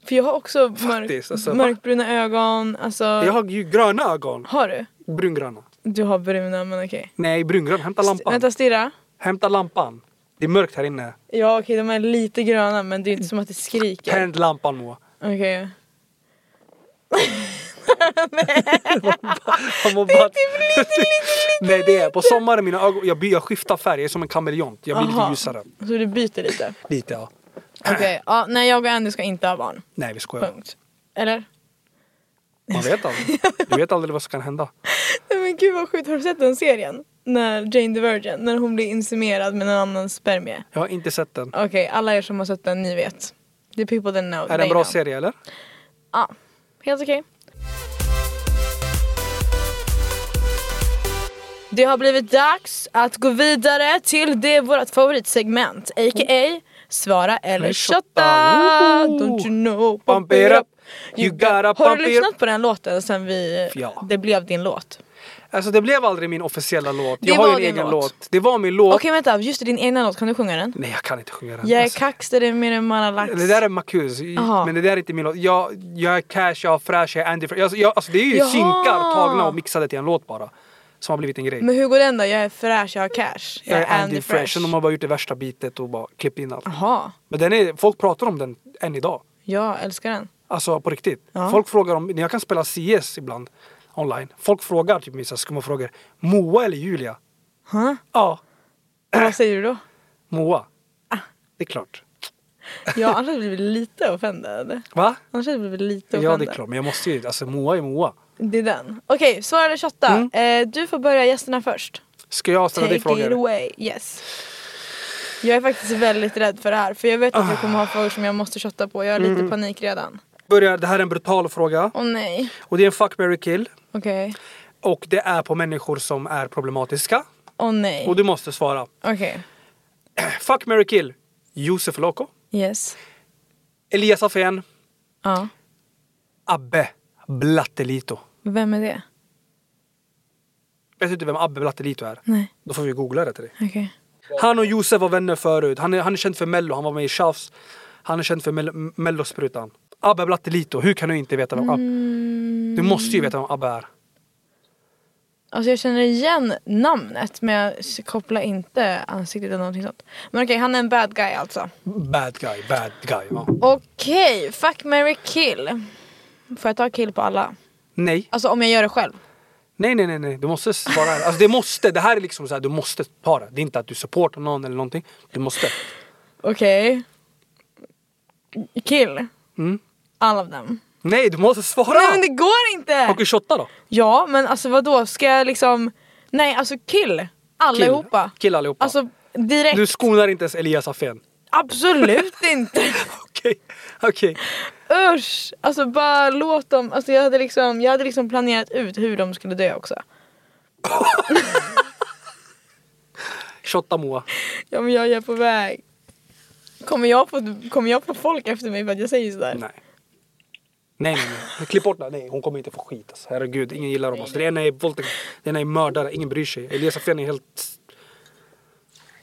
A: För jag har också mörk,
B: Faktiskt, alltså, va?
A: mörkbruna ögon. Alltså,
B: Jag har ju gröna ögon.
A: har du?
B: Brungröna.
A: Du har bruna men okej.
B: Nej, brungröna. Hämta
A: St-
B: lampan.
A: Vänta stirra.
B: Hämta lampan. Det är mörkt här inne.
A: Ja okej de är lite gröna men det är inte som att det skriker.
B: Tänd lampan Moa.
A: Okej.
B: Jag mår bara-
A: typ
B: Nej, det är på sommaren mina ögon, jag, by- jag skiftar färg. Jag är som en kameleont. Jag blir lite
A: Aha.
B: ljusare.
A: Så du byter lite.
B: Lite ja.
A: Okej. Ja, nej jag och Andy ska inte ha barn.
B: Nej, vi skojar.
A: Punkt. Eller?
B: Man vet aldrig. Du vet aldrig vad som kan hända.
A: Nej men gud vad sjukt, har du sett den serien? När Jane the Virgin, när hon blir insemerad med någon annans spermie.
B: Jag har inte sett den.
A: Okej, alla er som har sett den, ni vet. The people that know.
B: Är det
A: they
B: en bra
A: know.
B: serie eller?
A: Ja, helt okej. Det har blivit dags att gå vidare till det vårt favoritsegment, a.k.a. Svara eller shotta. Don't you know?
B: Bump it up. You gotta
A: Har
B: bump
A: du
B: it up.
A: lyssnat på den låten sen vi,
B: Ja.
A: det blev din låt?
B: Alltså det blev aldrig min officiella låt.
A: Det
B: Jag har ju
A: var
B: en
A: din
B: egen
A: låt.
B: låt. Det var min låt.
A: Okej vänta, just det, din egna låt, kan du sjunga den?
B: Nej jag kan inte sjunga den.
A: Jag är
B: Alltså,
A: kaxig, det är mer än man lax.
B: det där är Marcus,
A: Aha.
B: men det där är inte min låt. Jag, jag är Cash, jag är Fräsch, jag är Andy Fr- alltså, jag, alltså det är ju
A: Jaha.
B: synkar tagna och mixade till en låt bara. Som har blivit en grej.
A: Men hur går den då? Jag är fräsch, jag har cash.
B: jag är Andy Fresh. Sen de har bara gjort det värsta bitet och bara klippt in allt.
A: Jaha,
B: Men den är, folk pratar om den än idag.
A: jag älskar den.
B: Alltså på riktigt.
A: Ja.
B: Folk frågar om, när jag kan spela CS ibland online. Folk frågar typ mig så här skumma frågor. Moa eller Julia?
A: Huh?
B: Ja,
A: Vad säger du då?
B: Moa.
A: Ah.
B: Det är klart.
A: Ja, annars hade jag blivit lite offended.
B: Va?
A: Annars hade jag blivit lite
B: Ja det
A: offended.
B: är klart, men jag måste ju, alltså Moa är Moa.
A: Det är den. Okej, svara eller shotta.
B: Mm.
A: Eh, du får börja gästerna först.
B: Ska jag ställa
A: Take
B: dig
A: it
B: frågor?
A: away. Yes. Jag är faktiskt väldigt rädd för det här för jag vet
B: Ah.
A: att jag kommer ha frågor som jag måste shotta på. Jag har lite
B: Mm.
A: panik redan.
B: Börja, det här är en brutal fråga.
A: Åh nej.
B: Och det är en fuck, marry, kill.
A: Okej.
B: Och det är på människor som är problematiska.
A: Åh nej.
B: Och du måste svara.
A: Okej.
B: Fuck, marry, kill. Josef Loco.
A: Yes.
B: Elias Afén.
A: Ja.
B: Abbe Blattelito.
A: Vem är det?
B: Vet du inte vem Abbe Blattelito är?
A: Nej.
B: Då får vi googla det till dig.
A: Okej.
B: Han och Josef var vänner förut. Han är, han är känd för Mello, han var med i Tjafs. Han är känd för Mel- Mellosprutan. Abbe Blattelito, hur kan du inte veta vem Abbe...
A: Mm.
B: Du måste ju veta vem Abbe är.
A: Alltså jag känner igen namnet men jag s- kopplar inte ansiktet eller någonting sånt. Men okej, han är en bad guy alltså.
B: Bad guy, bad guy. Ja.
A: Okej, fuck, marry, kill. Får jag ta kill på alla?
B: Nej.
A: Alltså om jag gör det själv.
B: nej, nej, nej, nej. Du måste svara. här. Alltså det måste, det här är liksom så här, du måste ta det. Det är inte att du supportar någon eller någonting. Du måste.
A: Okej. Kill.
B: Mm.
A: All of them.
B: Nej, du måste svara!
A: Nej men det går inte!
B: Och shotta då?
A: Ja men alltså vad då ska jag liksom... Nej alltså kill. Allihopa.
B: Kill allihopa.
A: Alltså direkt.
B: Du skonar inte ens Elias Afén.
A: Absolut inte.
B: Okej, okej.
A: Usch! Alltså bara låt dem, alltså jag hade liksom, jag hade liksom planerat ut hur de skulle dö också.
B: Shotta Moa.
A: Ja men jag är på väg. Kommer jag få, kommer jag få folk efter mig för att jag säger sådär?
B: Nej. Nej, nej, nej. Klipp bort det. Nej, hon kommer inte få skit. Alltså. Herregud, ingen gillar dem. Alltså. Den ena är våldtäkt, den ena är mördare. Ingen bryr sig. Elias Afén är helt...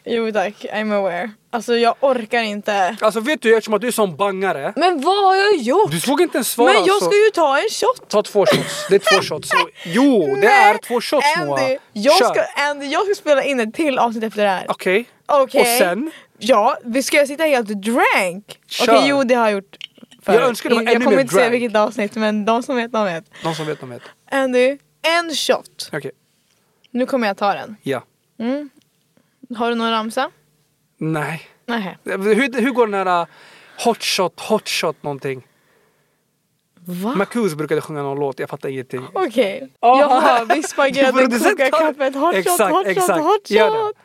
A: Jo tack, I'm aware. Alltså jag orkar inte.
B: Alltså vet du, eftersom att du är sån bangare.
A: Men vad har jag gjort?
B: Du såg inte ens svara.
A: men jag
B: alltså.
A: ska ju ta en shot!
B: Ta två shots. Det är två shots. Så- Jo, det är två shots Moa.
A: Andy, jag
B: Kör.
A: ska, Andy, jag ska spela in ett till avsnitt efter det här.
B: Okej.
A: Okej.
B: Och sen?
A: Ja, vi ska jag sitta helt drank?
B: Kör.
A: Okej, jo det har jag gjort förut.
B: Jag önskar det var
A: jag
B: ännu
A: kommer
B: mer
A: inte säga
B: drank.
A: vilket avsnitt men de som vet de vet.
B: De som vet, de vet. Okej.
A: Andy, en shot. Nu kommer jag ta den.
B: Ja.
A: Har du någon ramsa?
B: Nej.
A: Nej.
B: Hur, hur går den här uh, hot shot, hot shot någonting?
A: Va?
B: Marcus brukade sjunga någon låt. Jag fattar ingenting.
A: Okej.
B: Ja.
A: Jaha, vispa grädden,
B: producent
A: koka
B: tar-
A: kaffet, hot shot,
B: Exakt,
A: hot shot,
B: exakt.
A: hot
B: Gör det.
A: shot.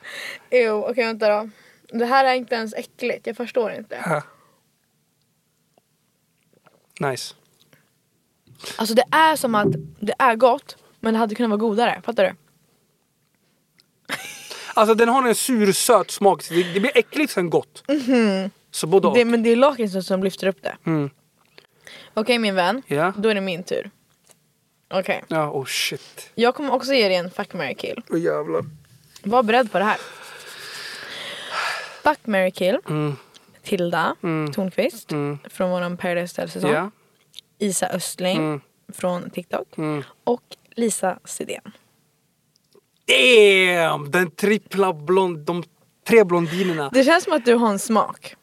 A: Jo, okej vänta då. Det här är inte ens äckligt, jag förstår inte.
B: Nice.
A: Alltså det är som att det är gott, men det hade kunnat vara godare. Fattar du?
B: Alltså den har en sur-söt smak. så Det, det blir äckligt sen gott. Så både och.
A: Mhm. Det, men det är lakritsen som lyfter upp det.
B: Mm.
A: Okej min vän,
B: Ja.
A: då är det min tur. Okej,
B: Ja, oh shit.
A: jag kommer också ge dig en fuck, marry, kill.
B: Åh jävlar.
A: Var beredd på det här. Fuck, marry, kill.
B: Mm.
A: Tilda Tornqvist från våran Paradise Hotel-säsong.
B: Ja.
A: Isa Östling
B: Mm.
A: från TikTok. Och Lisa Sidén.
B: Damn! Den trippla blond... De tre blondinerna. Äh,
A: Det känns som att du har en smak.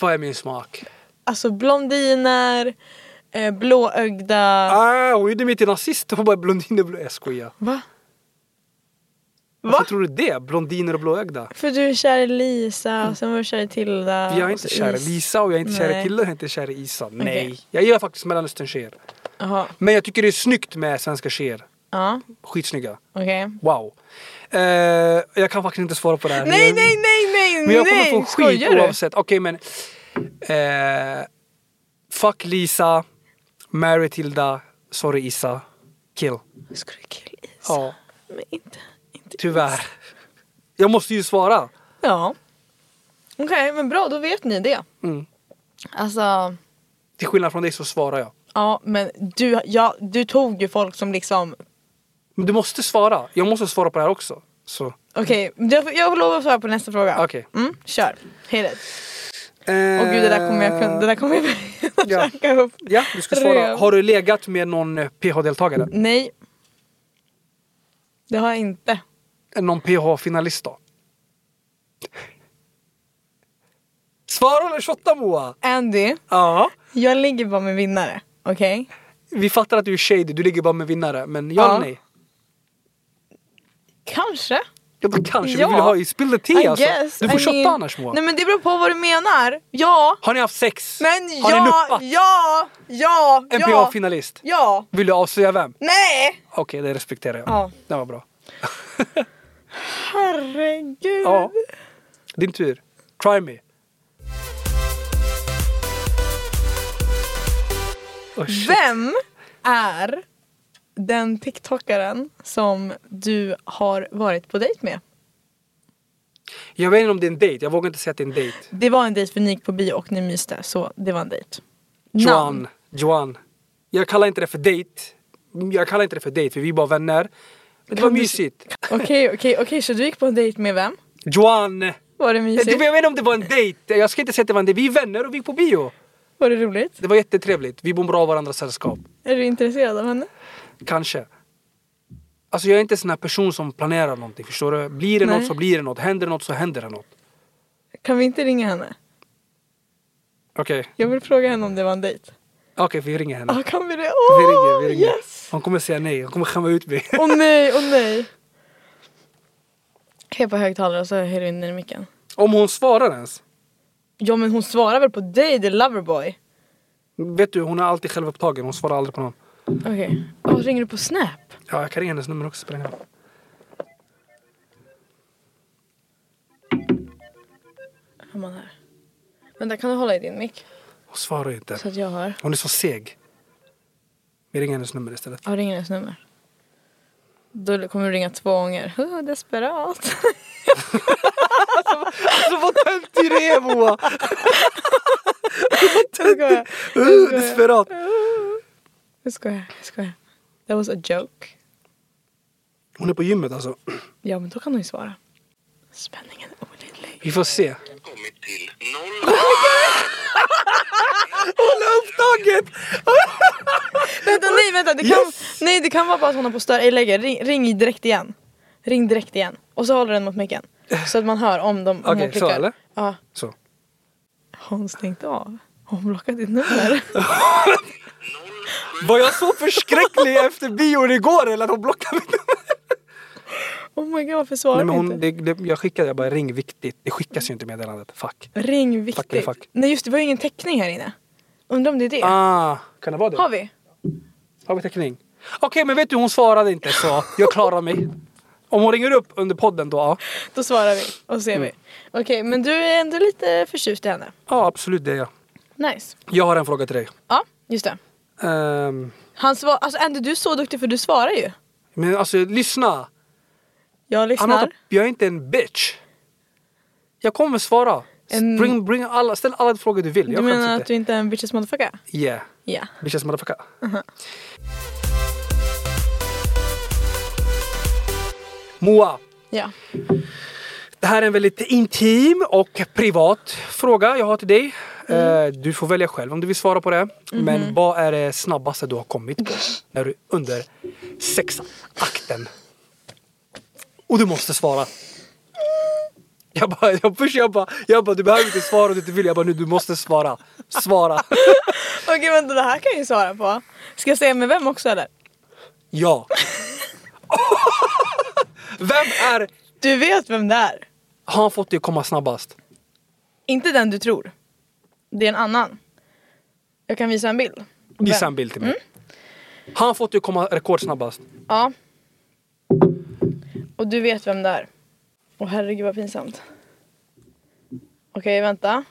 B: Vad är min smak?
A: Alltså blondiner, eh, blåögda.
B: Ah, hon gjorde mig till nazist. Hon bara blondiner blå... Jag skojar.
A: Va?
B: Varför tror du det? Blondiner och blåögda?
A: För du är kär i Lisa, sen var du kär i Tilda.
B: Jag är
A: och
B: inte
A: så
B: kär i
A: alltså, Is-
B: Lisa och jag är inte kär i
A: Nej.
B: killar och jag är inte kär i Isa. Nej.
A: Okej.
B: Jag gillar faktiskt mellanösterntjejer.
A: Jaha,
B: Men jag tycker det är snyggt med svenska tjejer.
A: ja,
B: Skitsnygga.
A: okej.
B: Wow. Eh, jag kan faktiskt inte svara på det här.
A: Nej,
B: Jag-
A: nej, nej, nej,
B: Men jag kommer
A: nej!
B: få skit
A: Skojar du?
B: oavsett. Okej men... Eh, fuck Lisa. Mary Tilda. Sorry Isa. Kill.
A: Ska du killa Isa?
B: Ja.
A: Men inte, inte
B: Tyvärr. Jag måste ju svara.
A: Ja. Okej, men bra då vet ni det.
B: Mm.
A: Alltså,
B: Till skillnad från dig så svarar jag.
A: ja men du, ja, du tog ju folk som liksom
B: Men du måste svara. Jag måste svara på det här också. Så,
A: Okej, jag, jag lovar att svara på nästa fråga.
B: okej.
A: Mm, kör. Hit it. Åh gud, det där kommer jag kunna... Det där kommer jag
B: Ja.
A: käka upp.
B: Eh, Ja, du ska svara. Har du legat med någon eh, PH-deltagare?
A: Nej. Det har jag inte.
B: Eh, Någon PH-finalist då? Svara eller shotta Moa?
A: Andy,
B: Ja.
A: jag ligger bara med vinnare. Okej?
B: Vi fattar att du är shady, du ligger bara med vinnare. Men ja
A: Ja.
B: eller nej?
A: Kanske.
B: Ja, då kanske
A: Ja.
B: vi vill ha i spill the tea
A: I
B: alltså.
A: guess.
B: Du får
A: I
B: shotta
A: mean-
B: annars Moa.
A: Nej men det beror på vad du menar. Ja.
B: Har ni haft sex?
A: Men
B: Har ni
A: ja,
B: nuppat?
A: ja, ja,
B: En
A: ja.
B: PH-finalist?
A: Ja.
B: Vill du avslöja vem?
A: Nej.
B: Okej, det respekterar jag.
A: Ja.
B: Det var bra.
A: Herregud.
B: Ja. Din tur. Try me. Oh, shit.
A: Vem är den TikTokaren som du har varit på dejt med?
B: Jag vet inte om det är en dejt, jag vågar inte säga att det är en dejt.
A: Det var en dejt för ni gick på bio och ni myste så det var en dejt.
B: Joan.
A: Namn.
B: Joan. Jag kallar inte det för dejt. Jag kallar inte det för dejt för vi är bara vänner. Men det var
A: Kan du-
B: mysigt.
A: Okej okej okej så du gick på en dejt med vem?
B: Joan!
A: Var det
B: Jag
A: mysigt?
B: vet inte om det var en dejt. Jag ska inte säga att det var en dejt. Vi är vänner och vi gick på bio.
A: Var det roligt?
B: Det var jättetrevligt. Vi mår bra av varandras sällskap.
A: Är du intresserad av henne?
B: Kanske. Alltså jag är inte en sån här person som planerar någonting. Förstår du? Blir det
A: Nej.
B: något så blir det något. Händer det något så händer det något.
A: Kan vi inte ringa henne?
B: Okej.
A: Jag vill fråga henne om det var en dejt.
B: Okej, vi ringer henne.
A: Ja kan vi det?
B: Mm. Vi
A: Åh
B: ringer, vi ringer.
A: Ah, yes!
B: Hon kommer säga nej. Hon kommer skämma ut mig.
A: Åh nej, åh nej. Jag på högtalare och så hör du in den i micken.
B: Om hon svarar ens.
A: Ja men hon svarar väl på dig, det är Loverboy?
B: Vet du, hon är alltid självupptagen. Hon svarar aldrig på någon.
A: Okej. Åh, ringer du på Snap?
B: Ja, jag kan ringa hennes nummer också. spelar ingen roll.
A: Har man här. Vänta, kan du hålla i din mick?
B: Hon svarar ju
A: Så
B: inte.
A: att jag hör.
B: Hon är så seg. Vi ringer hennes nummer istället.
A: Ja, ring hennes nummer. Då kommer du ringa två gånger. Oh, desperat.
B: Alltså vad töntig du är Moa!
A: Jag skojar.
B: Uh, Desperat!
A: Jag skojar. Jag skojar. That was a joke.
B: Hon är på gymmet alltså.
A: Ja, men då kan hon ju svara. Spänningen är olidlig.
B: Vi får se.
D: kommit till noll.
B: Hon är upptaget!
A: Vänta, nej, vänta. Det kan, Nej, det kan vara bara att hon har på stör. Ej, lägger. Ring, ring direkt igen. Ring direkt igen. Och så håller den mot micken. Så att man hör om de om hon
B: Okej, så
A: klickar.
B: eller?
A: Ja.
B: Så.
A: Har hon stängt av? Har hon blockat ditt nummer?
B: Var jag så förskräcklig efter bion igår eller att hon blockade mitt nummer?
A: Oh my god, varför svarar
B: Nej, men
A: du
B: hon,
A: inte?
B: det, det, jag skickade jag bara ring viktigt. Det skickas ju inte meddelandet. Fuck.
A: Ring
B: Fuck eller
A: viktigt.
B: fuck?
A: Nej just det, vi har ju ingen täckning här inne. Undrar om det är det.
B: Ah, kan det vara det?
A: Har vi?
B: Har vi täckning? Okej men vet du hon svarade inte så jag klarar mig. Om hon ringer upp under podden då, ja.
A: Då svarar vi och
B: Mm.
A: ser vi. Okej, men du är ändå lite förtjust i henne.
B: Ja absolut det är jag.
A: Nice.
B: Jag har en fråga till dig.
A: Ja, just det.
B: Ehm,
A: Han svar... Alltså Andy, du är så duktig för du svarar ju.
B: men alltså lyssna.
A: Jag lyssnar.
B: Anna, jag är inte en bitch. Jag kommer svara.
A: En-
B: Bring, bring alla, ställ alla frågor du vill.
A: du
B: Jag skäms
A: menar att
B: inte.
A: du inte är en bitches motherfucker?
B: Yeah.
A: Ja.
B: Bitches motherfucker. Moa,
A: Ja.
B: det här är en väldigt intim och privat fråga jag har till dig. Eh, Du får välja själv om du vill svara på det. Men vad är det snabbaste du har kommit på när du under sexakten? Och du måste svara. Jag bara, jag, först jag bara, jag bara, du behöver inte svara om du inte vill. Jag bara, nu du måste svara. Svara.
A: Okej vänta, det här kan jag ju svara på. Ska jag säga med vem också eller?
B: Ja. Vem är...
A: Du vet vem det är.
B: Har han fått dig att komma snabbast?
A: Inte den du tror. Det är en annan. Jag kan visa en bild.
B: Visa
A: Vem?
B: en bild till mig. Har han fått dig att komma rekordsnabbast?
A: Ja. Och du vet vem det är. Åh herregud vad pinsamt. Okej, vänta.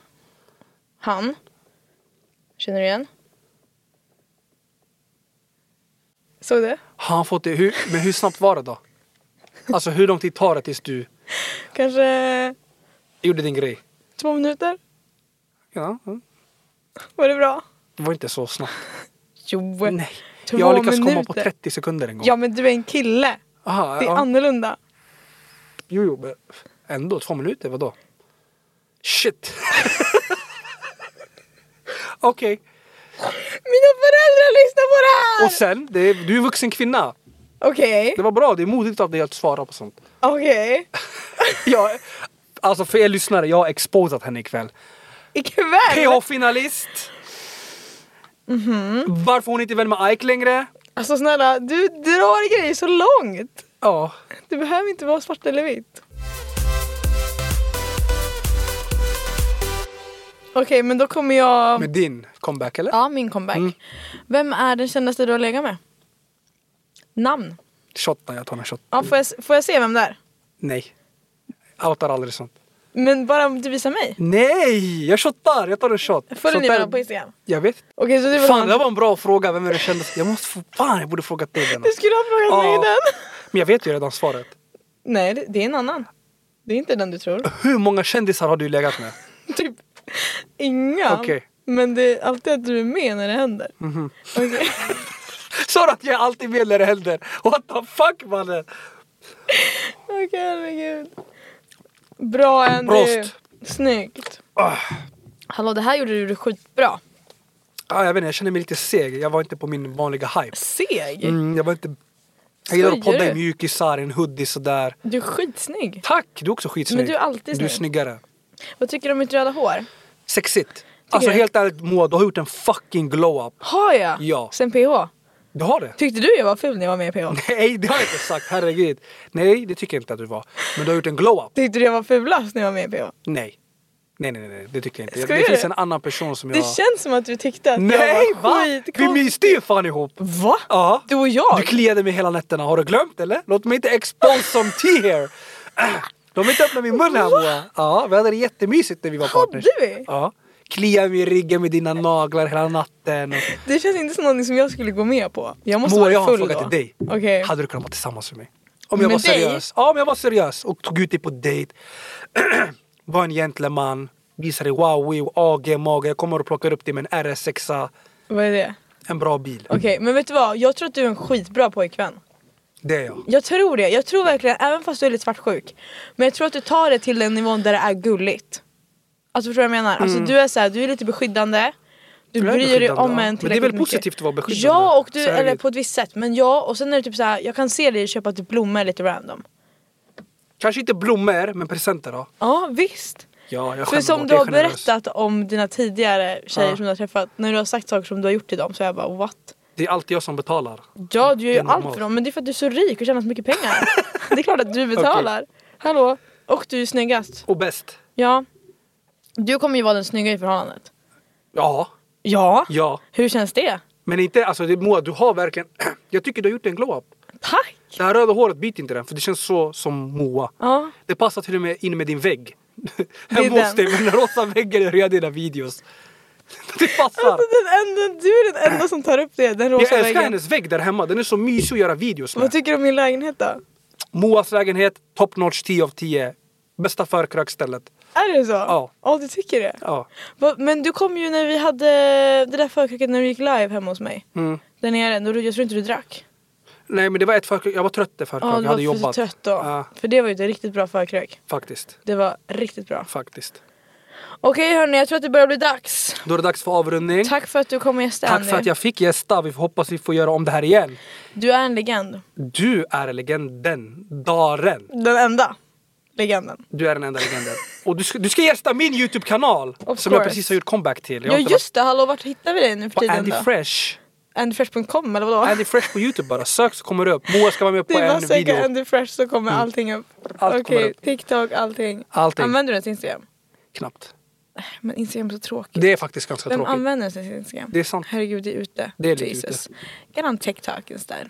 A: Han. Känner du igen? Såg du?
B: Har han fått dig... Hur, men hur snabbt var det då? Alltså hur lång tid tar det tills du
A: Kanske
B: gjorde din grej?
A: två minuter.
B: Ja, mm.
A: Var det bra?
B: det var inte så snabbt.
A: Jo.
B: Nej.
A: Två
B: Jag har lyckats komma
A: minuter.
B: på 30 sekunder en gång.
A: Ja men du är en kille.
B: Aha,
A: Det är
B: ja.
A: annorlunda.
B: Jo, jo, men ändå två minuter, vadå? Shit! Okej,
A: Mina föräldrar lyssnar på det här!
B: och sen, det är, du är en vuxen kvinna.
A: Okej,
B: Det var bra, det är modigt av dig att svara på sånt.
A: okej.
B: Jag, alltså för er lyssnare, jag har exposat henne ikväll.
A: Ikväll!
B: PH-finalist!
A: Mhm.
B: Varför hon inte är vän med Ike längre?
A: Alltså snälla, du drar grejer så långt.
B: Ja,
A: Det behöver inte vara svart eller vitt. Okej, men då kommer jag...
B: med din comeback eller?
A: Ja, min comeback.
B: Mm.
A: Vem är den kändaste du har legat med? Namn.
B: Shot, nej, jag tar en shot.
A: Ja, får, jag, s- får jag se vem det är?
B: Nej. Outar aldrig sånt.
A: Men bara om du visar mig.
B: Nej, jag shottar! Jag tar en shot.
A: Följer
B: Sånt
A: ni
B: där-
A: varandra på Instagram?
B: Jag vet
A: Okej, så det var
B: Fan
A: någon-
B: det där var en bra fråga, vem är det kändes? Jag måste få, fan jag borde frågat dig den.
A: Du skulle ha frågat mig
B: Ja.
A: den.
B: Men jag vet ju redan svaret.
A: Nej, det- det är en annan. Det är inte den du tror.
B: Hur många kändisar har du legat med?
A: typ inga.
B: Okej.
A: Men det är alltid att du är med när det händer. Okej.
B: Sa du att jag är alltid med när det händer? What the fuck mannen?
A: Okej, herregud. Bra Andy.
B: Prost.
A: Snyggt.
B: Ah.
A: Hallå, det här gjorde du skitbra.
B: Ja, jag vet inte, jag känner mig lite seg. Jag var inte på min vanliga hype.
A: Seg.
B: Mm, jag var inte... Jag gillar att
A: Skojar
B: podda i
A: du?
B: mjukisar, i en hoodie sådär.
A: Du är skitsnygg.
B: Tack! Du är också skitsnygg.
A: Men du är alltid
B: Du är
A: snygg.
B: snyggare.
A: Vad tycker du om mitt röda hår?
B: Sexigt. Alltså
A: du?
B: helt ärligt Moa, du har gjort en fucking glow-up.
A: Har jag?
B: Ja. Mm.
A: Sen PH?
B: Du har det?
A: Tyckte du jag var ful när jag var med i PH?
B: Nej, det har jag inte sagt. Herregud. Nej, det tycker jag inte att du var. Men du har gjort en glow-up.
A: Tyckte du jag var fulast när jag var med i PH?
B: Nej. Nej, nej, nej, nej, det tycker jag inte.
A: Skojar
B: det finns
A: du?
B: en annan person som jag...
A: Det känns som att du tyckte att
B: nej,
A: jag
B: va?
A: var
B: Vi
A: skitkonstig.
B: myste ju fan ihop!
A: Va?
B: Ja.
A: Du och jag?
B: Du kliade mig hela nätterna, har du glömt eller? Låt mig inte expose som tea here! Äh, De vill inte öppna min mun här Moa! Ja, vi hade det jättemysigt när vi var partners.
A: Hade vi?
B: Ja. Kliade mig i ryggen med dina naglar hela natten. Och...
A: Det känns inte som någonting som jag skulle gå med på. Jag måste
B: Moa,
A: vara
B: jag har en
A: full
B: fråga
A: då.
B: till dig.
A: Okej.
B: Hade du kunnat vara tillsammans med mig? Om jag
A: Med
B: var
A: dig?
B: seriös. Ja, om jag var seriös och tog ut dig på dejt. var en gentleman. Visar dig wow, AG, mage. Jag kommer och plockar upp dig med en RS6.
A: Vad är det?
B: En bra bil.
A: Okej, men vet du vad? Jag tror att du är en skitbra pojkvän.
B: Det är jag.
A: Jag tror det. Jag tror verkligen, även fast du är lite svartsjuk. Men jag tror att du tar det till den nivån där det är gulligt. Alltså förstår du vad jag menar? Alltså du är så här, du är lite beskyddande. Du
B: Jag Mm. är
A: bryr dig
B: beskyddande,
A: om en
B: ja. Men det är väl
A: tillräckligt mycket.
B: positivt att vara beskyddande?
A: Ja, och du,
B: Så är det
A: eller
B: ju.
A: på ett visst sätt. Men ja, och sen är det typ så här, jag kan se dig köpa typ blommor lite random.
B: Kanske inte blommor, men presenter då.
A: Ja, visst.
B: Ja, jag
A: För
B: skämmer
A: som
B: bort,
A: du
B: jag är
A: har
B: generös.
A: berättat om dina tidigare tjejer
B: Ja.
A: som du har träffat, när du har sagt saker som du har gjort till dem så har jag bara what?
B: Det är alltid jag som betalar.
A: Ja du gör
B: Det
A: ju
B: är
A: allt för
B: normalt.
A: dem men det är för att du är så rik och tjänar så mycket pengar. det är klart att du betalar. Hallå? Och du är snyggast.
B: Och bäst.
A: Ja. Du kommer ju vara den snygga i förhållandet.
B: Ja.
A: Ja.
B: Ja.
A: Hur känns det?
B: Men inte, alltså det, Moa, du har verkligen... jag tycker du har gjort en glow-up.
A: Tack!
B: Det här röda håret, bit inte den för det känns så som Moa.
A: Ja.
B: Det passar till och med in med din vägg.
A: är
B: Hemma hos
A: den.
B: dig med den rosa väggen i röda dina videos. Det passar.
A: Alltså, den enda, du är den enda som tar upp det, den
B: Jag
A: rosa
B: älskar
A: väggen.
B: hennes vägg där hemma. Den är så mysig att göra videos
A: Vad
B: med.
A: tycker du om min lägenhet då?
B: Moas lägenhet, top notch 10 av 10. Bästa förkrökstället.
A: Är det så?
B: Ja.
A: Ja du tycker det?
B: Ja.
A: Va, men du kom ju när vi hade det där förkröket när du gick live hemma hos mig.
B: Mm.
A: Där nere, då, jag tror inte du drack.
B: Nej men det var ett förkrök. Jag var trött det förkrök.
A: Ja,
B: jag
A: du
B: hade
A: var för
B: jobbat.
A: trött då.
B: Ja,
A: För det var ju ett riktigt bra förkrök.
B: faktiskt.
A: Det var riktigt bra.
B: Faktiskt.
A: Okej hörni, jag tror att det börjar bli dags.
B: Då är det dags för avrundning.
A: Tack för att du kom och gästade
B: Tack för
A: Andy.
B: att jag fick gästa. Vi får hoppas vi får göra om det här igen.
A: Du är en legend.
B: Du är legenden. Daren.
A: Den enda legenden.
B: Du är den enda legenden. Och du ska, du ska gästa min YouTube-kanal! Som
A: Of
B: jag
A: course.
B: precis har gjort comeback till. Jag
A: Ja
B: har inte
A: just det, hallå vart hittar vi dig nu för
B: varit på
A: tiden
B: Andy
A: då?
B: Fresh.
A: Andyfresh.com eller vadå?
B: Andy Fresh på YouTube bara. Sök så kommer det upp. Moa ska vara med
A: det
B: på
A: är bara att
B: en
A: söka
B: video. Mm.
A: Andy Fresh så kommer allting upp.
B: Allt
A: Okej,
B: kommer upp.
A: TikTok, allting.
B: Allting.
A: Använder du ens Instagram?
B: Knappt.
A: Men Instagram är så tråkigt.
B: Det är faktiskt ganska
A: Vem
B: tråkigt.
A: använder ens Instagram?
B: Det är sant.
A: Herregud, det är ute.
B: Det är lite
A: Jesus. Get on TikTok instead.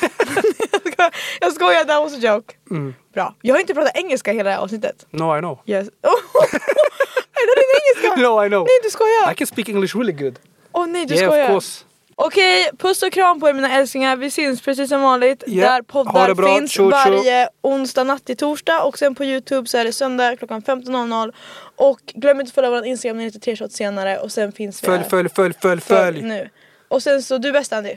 A: Jag skojar- jag skojar, that was a joke.
B: Mm.
A: Bra. Jag har inte pratat engelska hela det här avsnittet.
B: No I know.
A: Yes. Oh, är det din engelska?
B: No I know.
A: Nej du skojar!
B: I can speak English really good.
A: Åh nej du
B: yeah
A: skojar!
B: of course.
A: Okej, puss och kram på er mina älsklingar. Vi syns precis som vanligt
B: Ja,
A: där
B: ha
A: poddar
B: det bra.
A: finns
B: Tjo, tjo.
A: varje onsdag natt till torsdag och sen på Youtube så är det söndag klockan 15.00 och glöm inte att följa vår Instagram, den heter tre shots senare och sen finns vi
B: Följ,
A: här.
B: följ, följ, följ, följ.
A: nu. Och sen så, du är bäst Andy.